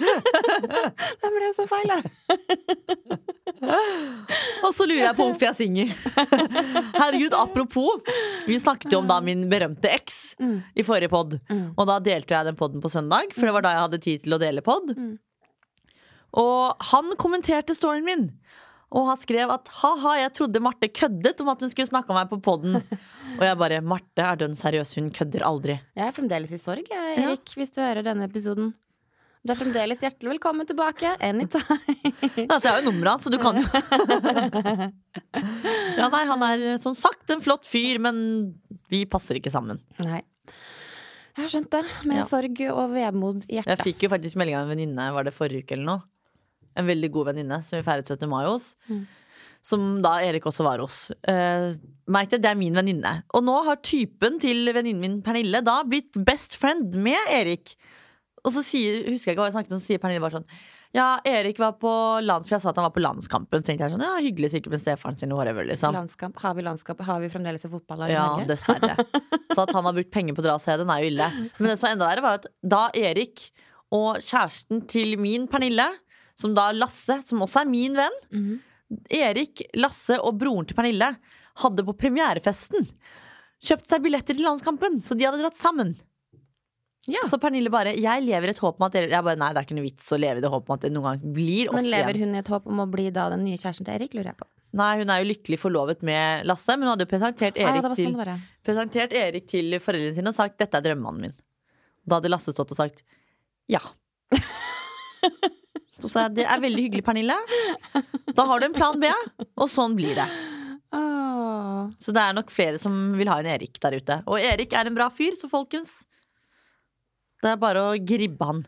Speaker 2: [LAUGHS] Det ble så feil,
Speaker 1: [LAUGHS]
Speaker 2: det.
Speaker 1: Og så lurer jeg på hvorfor jeg er singel. [LAUGHS] Herregud, apropos. Vi snakket jo om da min berømte eks
Speaker 2: Mm.
Speaker 1: i forrige pod.
Speaker 2: Mm.
Speaker 1: Og da delte jeg den poden på søndag, for det var da jeg hadde tid til å dele pod.
Speaker 2: Mm.
Speaker 1: Og han kommenterte storyen min. Og han skrev at ha-ha, jeg trodde Marte køddet om at hun skulle snakke om meg på poden. Og jeg bare Marte er dønn seriøs, hun kødder aldri.
Speaker 2: Jeg er fremdeles i sorg, jeg, Erik, hvis du hører denne episoden. Du er fremdeles hjertelig velkommen tilbake. Anytime.
Speaker 1: Nei, altså, jeg har jo nummeret hans, så du kan jo [LAUGHS] Ja, nei, han er eh, som sagt en flott fyr, men vi passer ikke sammen.
Speaker 2: Nei. Jeg har skjønt det, med
Speaker 1: Ja.
Speaker 2: sorg og vemod i
Speaker 1: Jeg
Speaker 2: hjertet.
Speaker 1: fikk jo faktisk melding av en venninne, var det forrige uke eller noe? En veldig god venninne som vi feiret 17. mai hos.
Speaker 2: Mm.
Speaker 1: Som da Erik også var hos. Eh, Merk det, det er min venninne. Og nå har typen til venninnen min Pernille da blitt best friend med Erik. Og så sier, husker jeg ikke hva jeg snakket om, så sier Pernille bare sånn Ja, Erik var på land, for jeg sa at han var på landskampen. Så tenkte jeg sånn, ja, hyggelig sikkert med stefaren sin og whatever, liksom.
Speaker 2: Landskamp. Har vi landskap? Har vi fremdeles et fotballag i
Speaker 1: Ja,
Speaker 2: Norge?
Speaker 1: dessverre. Så at han har brukt penger på å dra seg, den er jo ille. Men det som var enda verre, var at da Erik og kjæresten til min Pernille, som da er Lasse, som også er min venn
Speaker 2: Mhm.
Speaker 1: Erik, Lasse og broren til Pernille hadde på premierefesten kjøpt seg billetter til landskampen, så de hadde dratt sammen.
Speaker 2: Ja.
Speaker 1: Så Pernille bare 'Jeg lever i et håp om at dere Jeg bare, Nei, det er ikke noe vits å leve i det håpet om at det noen gang blir oss
Speaker 2: Men lever
Speaker 1: igjen.
Speaker 2: hun i et håp om å bli da den nye kjæresten til Erik, lurer jeg på.
Speaker 1: Nei, hun er jo lykkelig forlovet med Lasse, men hun hadde jo presentert Erik
Speaker 2: ah, ja, det var
Speaker 1: til
Speaker 2: sånn det var. ja.
Speaker 1: presentert Erik til foreldrene sine og sagt 'dette er drømmemannen min'. Da hadde Lasse stått og sagt 'ja'. Så sa jeg 'det er veldig hyggelig, Pernille'. Da har du en plan B, og sånn blir det.
Speaker 2: Åh.
Speaker 1: Så det er nok flere som vil ha en Erik der ute. Og Erik er en bra fyr, så folkens. Det er bare å gribbe han.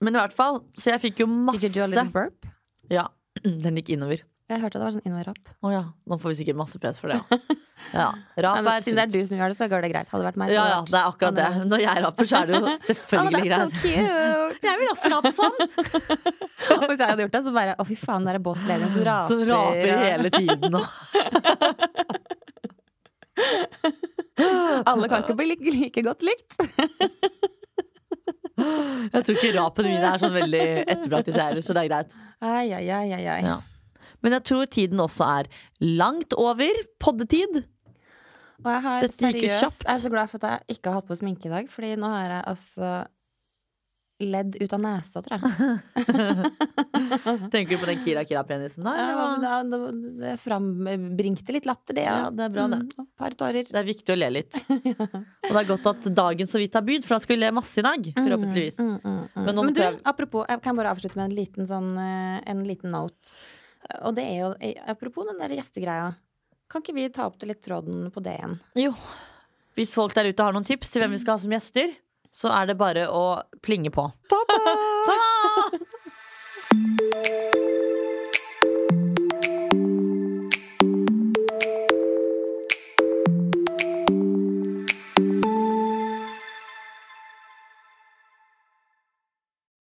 Speaker 1: Men i hvert fall, så jeg fikk jo
Speaker 2: Did you do a little
Speaker 1: masse
Speaker 2: burp?
Speaker 1: Ja, [CLEARS THROAT] den gikk innover.
Speaker 2: Jeg hørte at det var sånn innvær-rapp.
Speaker 1: Å ja, nå får vi sikkert masse pes for det.
Speaker 2: [LAUGHS]
Speaker 1: Ja. Rap er
Speaker 2: Siden det er
Speaker 1: sunt.
Speaker 2: du som gjør det, så går det greit. Hadde det vært meg, så
Speaker 1: Ja, ja,
Speaker 2: hadde
Speaker 1: det er akkurat det.
Speaker 2: annerledes.
Speaker 1: Når jeg raper, [LAUGHS] så er det jo selvfølgelig
Speaker 2: det vært- Å,
Speaker 1: greit.
Speaker 2: that's so cute!
Speaker 1: Jeg vil også rape sånn!
Speaker 2: Og hvis jeg hadde gjort det, så bare Å, fy faen, det er
Speaker 1: [LAUGHS]
Speaker 2: Bås Levin som raper.
Speaker 1: Som raper
Speaker 2: ja.
Speaker 1: hele tiden. og-
Speaker 2: Alle kan ikke bli like, like godt likt.
Speaker 1: Jeg tror ikke rapen min er sånn veldig etterbrakt i det heller, så det er greit.
Speaker 2: Ai, ai, ai, ai, ai.
Speaker 1: Ja. Men jeg tror tiden også er langt over poddetid.
Speaker 2: Og jeg har
Speaker 1: Dette gikk jo
Speaker 2: seriøst
Speaker 1: kjapt.
Speaker 2: Jeg er så glad for at jeg ikke har hatt på sminke i dag, Fordi nå har jeg altså ledd ut av nesa,
Speaker 1: [LAUGHS]
Speaker 2: tror jeg.
Speaker 1: Tenker du på den Kira Kira-penisen da?
Speaker 2: Ja,
Speaker 1: eller
Speaker 2: men
Speaker 1: hva?
Speaker 2: da- da- Det frambringte litt latter, det.
Speaker 1: Ja, det er bra, det.
Speaker 2: Mm, og et par tårer.
Speaker 1: Det er viktig å le [LAUGHS] litt. Og det er godt at dagen så vidt har bydd, for da skal vi le masse i dag. Forhåpentligvis.
Speaker 2: Mm, mm, mm.
Speaker 1: Men
Speaker 2: Men,
Speaker 1: nå måtte
Speaker 2: du,
Speaker 1: jeg-
Speaker 2: apropos, jeg kan bare avslutte med en liten, sånn, eh, en liten note. Og det er jo eh, Apropos den der gjestegreia. Kan ikke vi ta opp det litt tråden på det igjen?
Speaker 1: Jo. Hvis folk der ute har noen tips til hvem vi skal ha som gjester, så er det bare å plinge på.
Speaker 2: Ta-ta!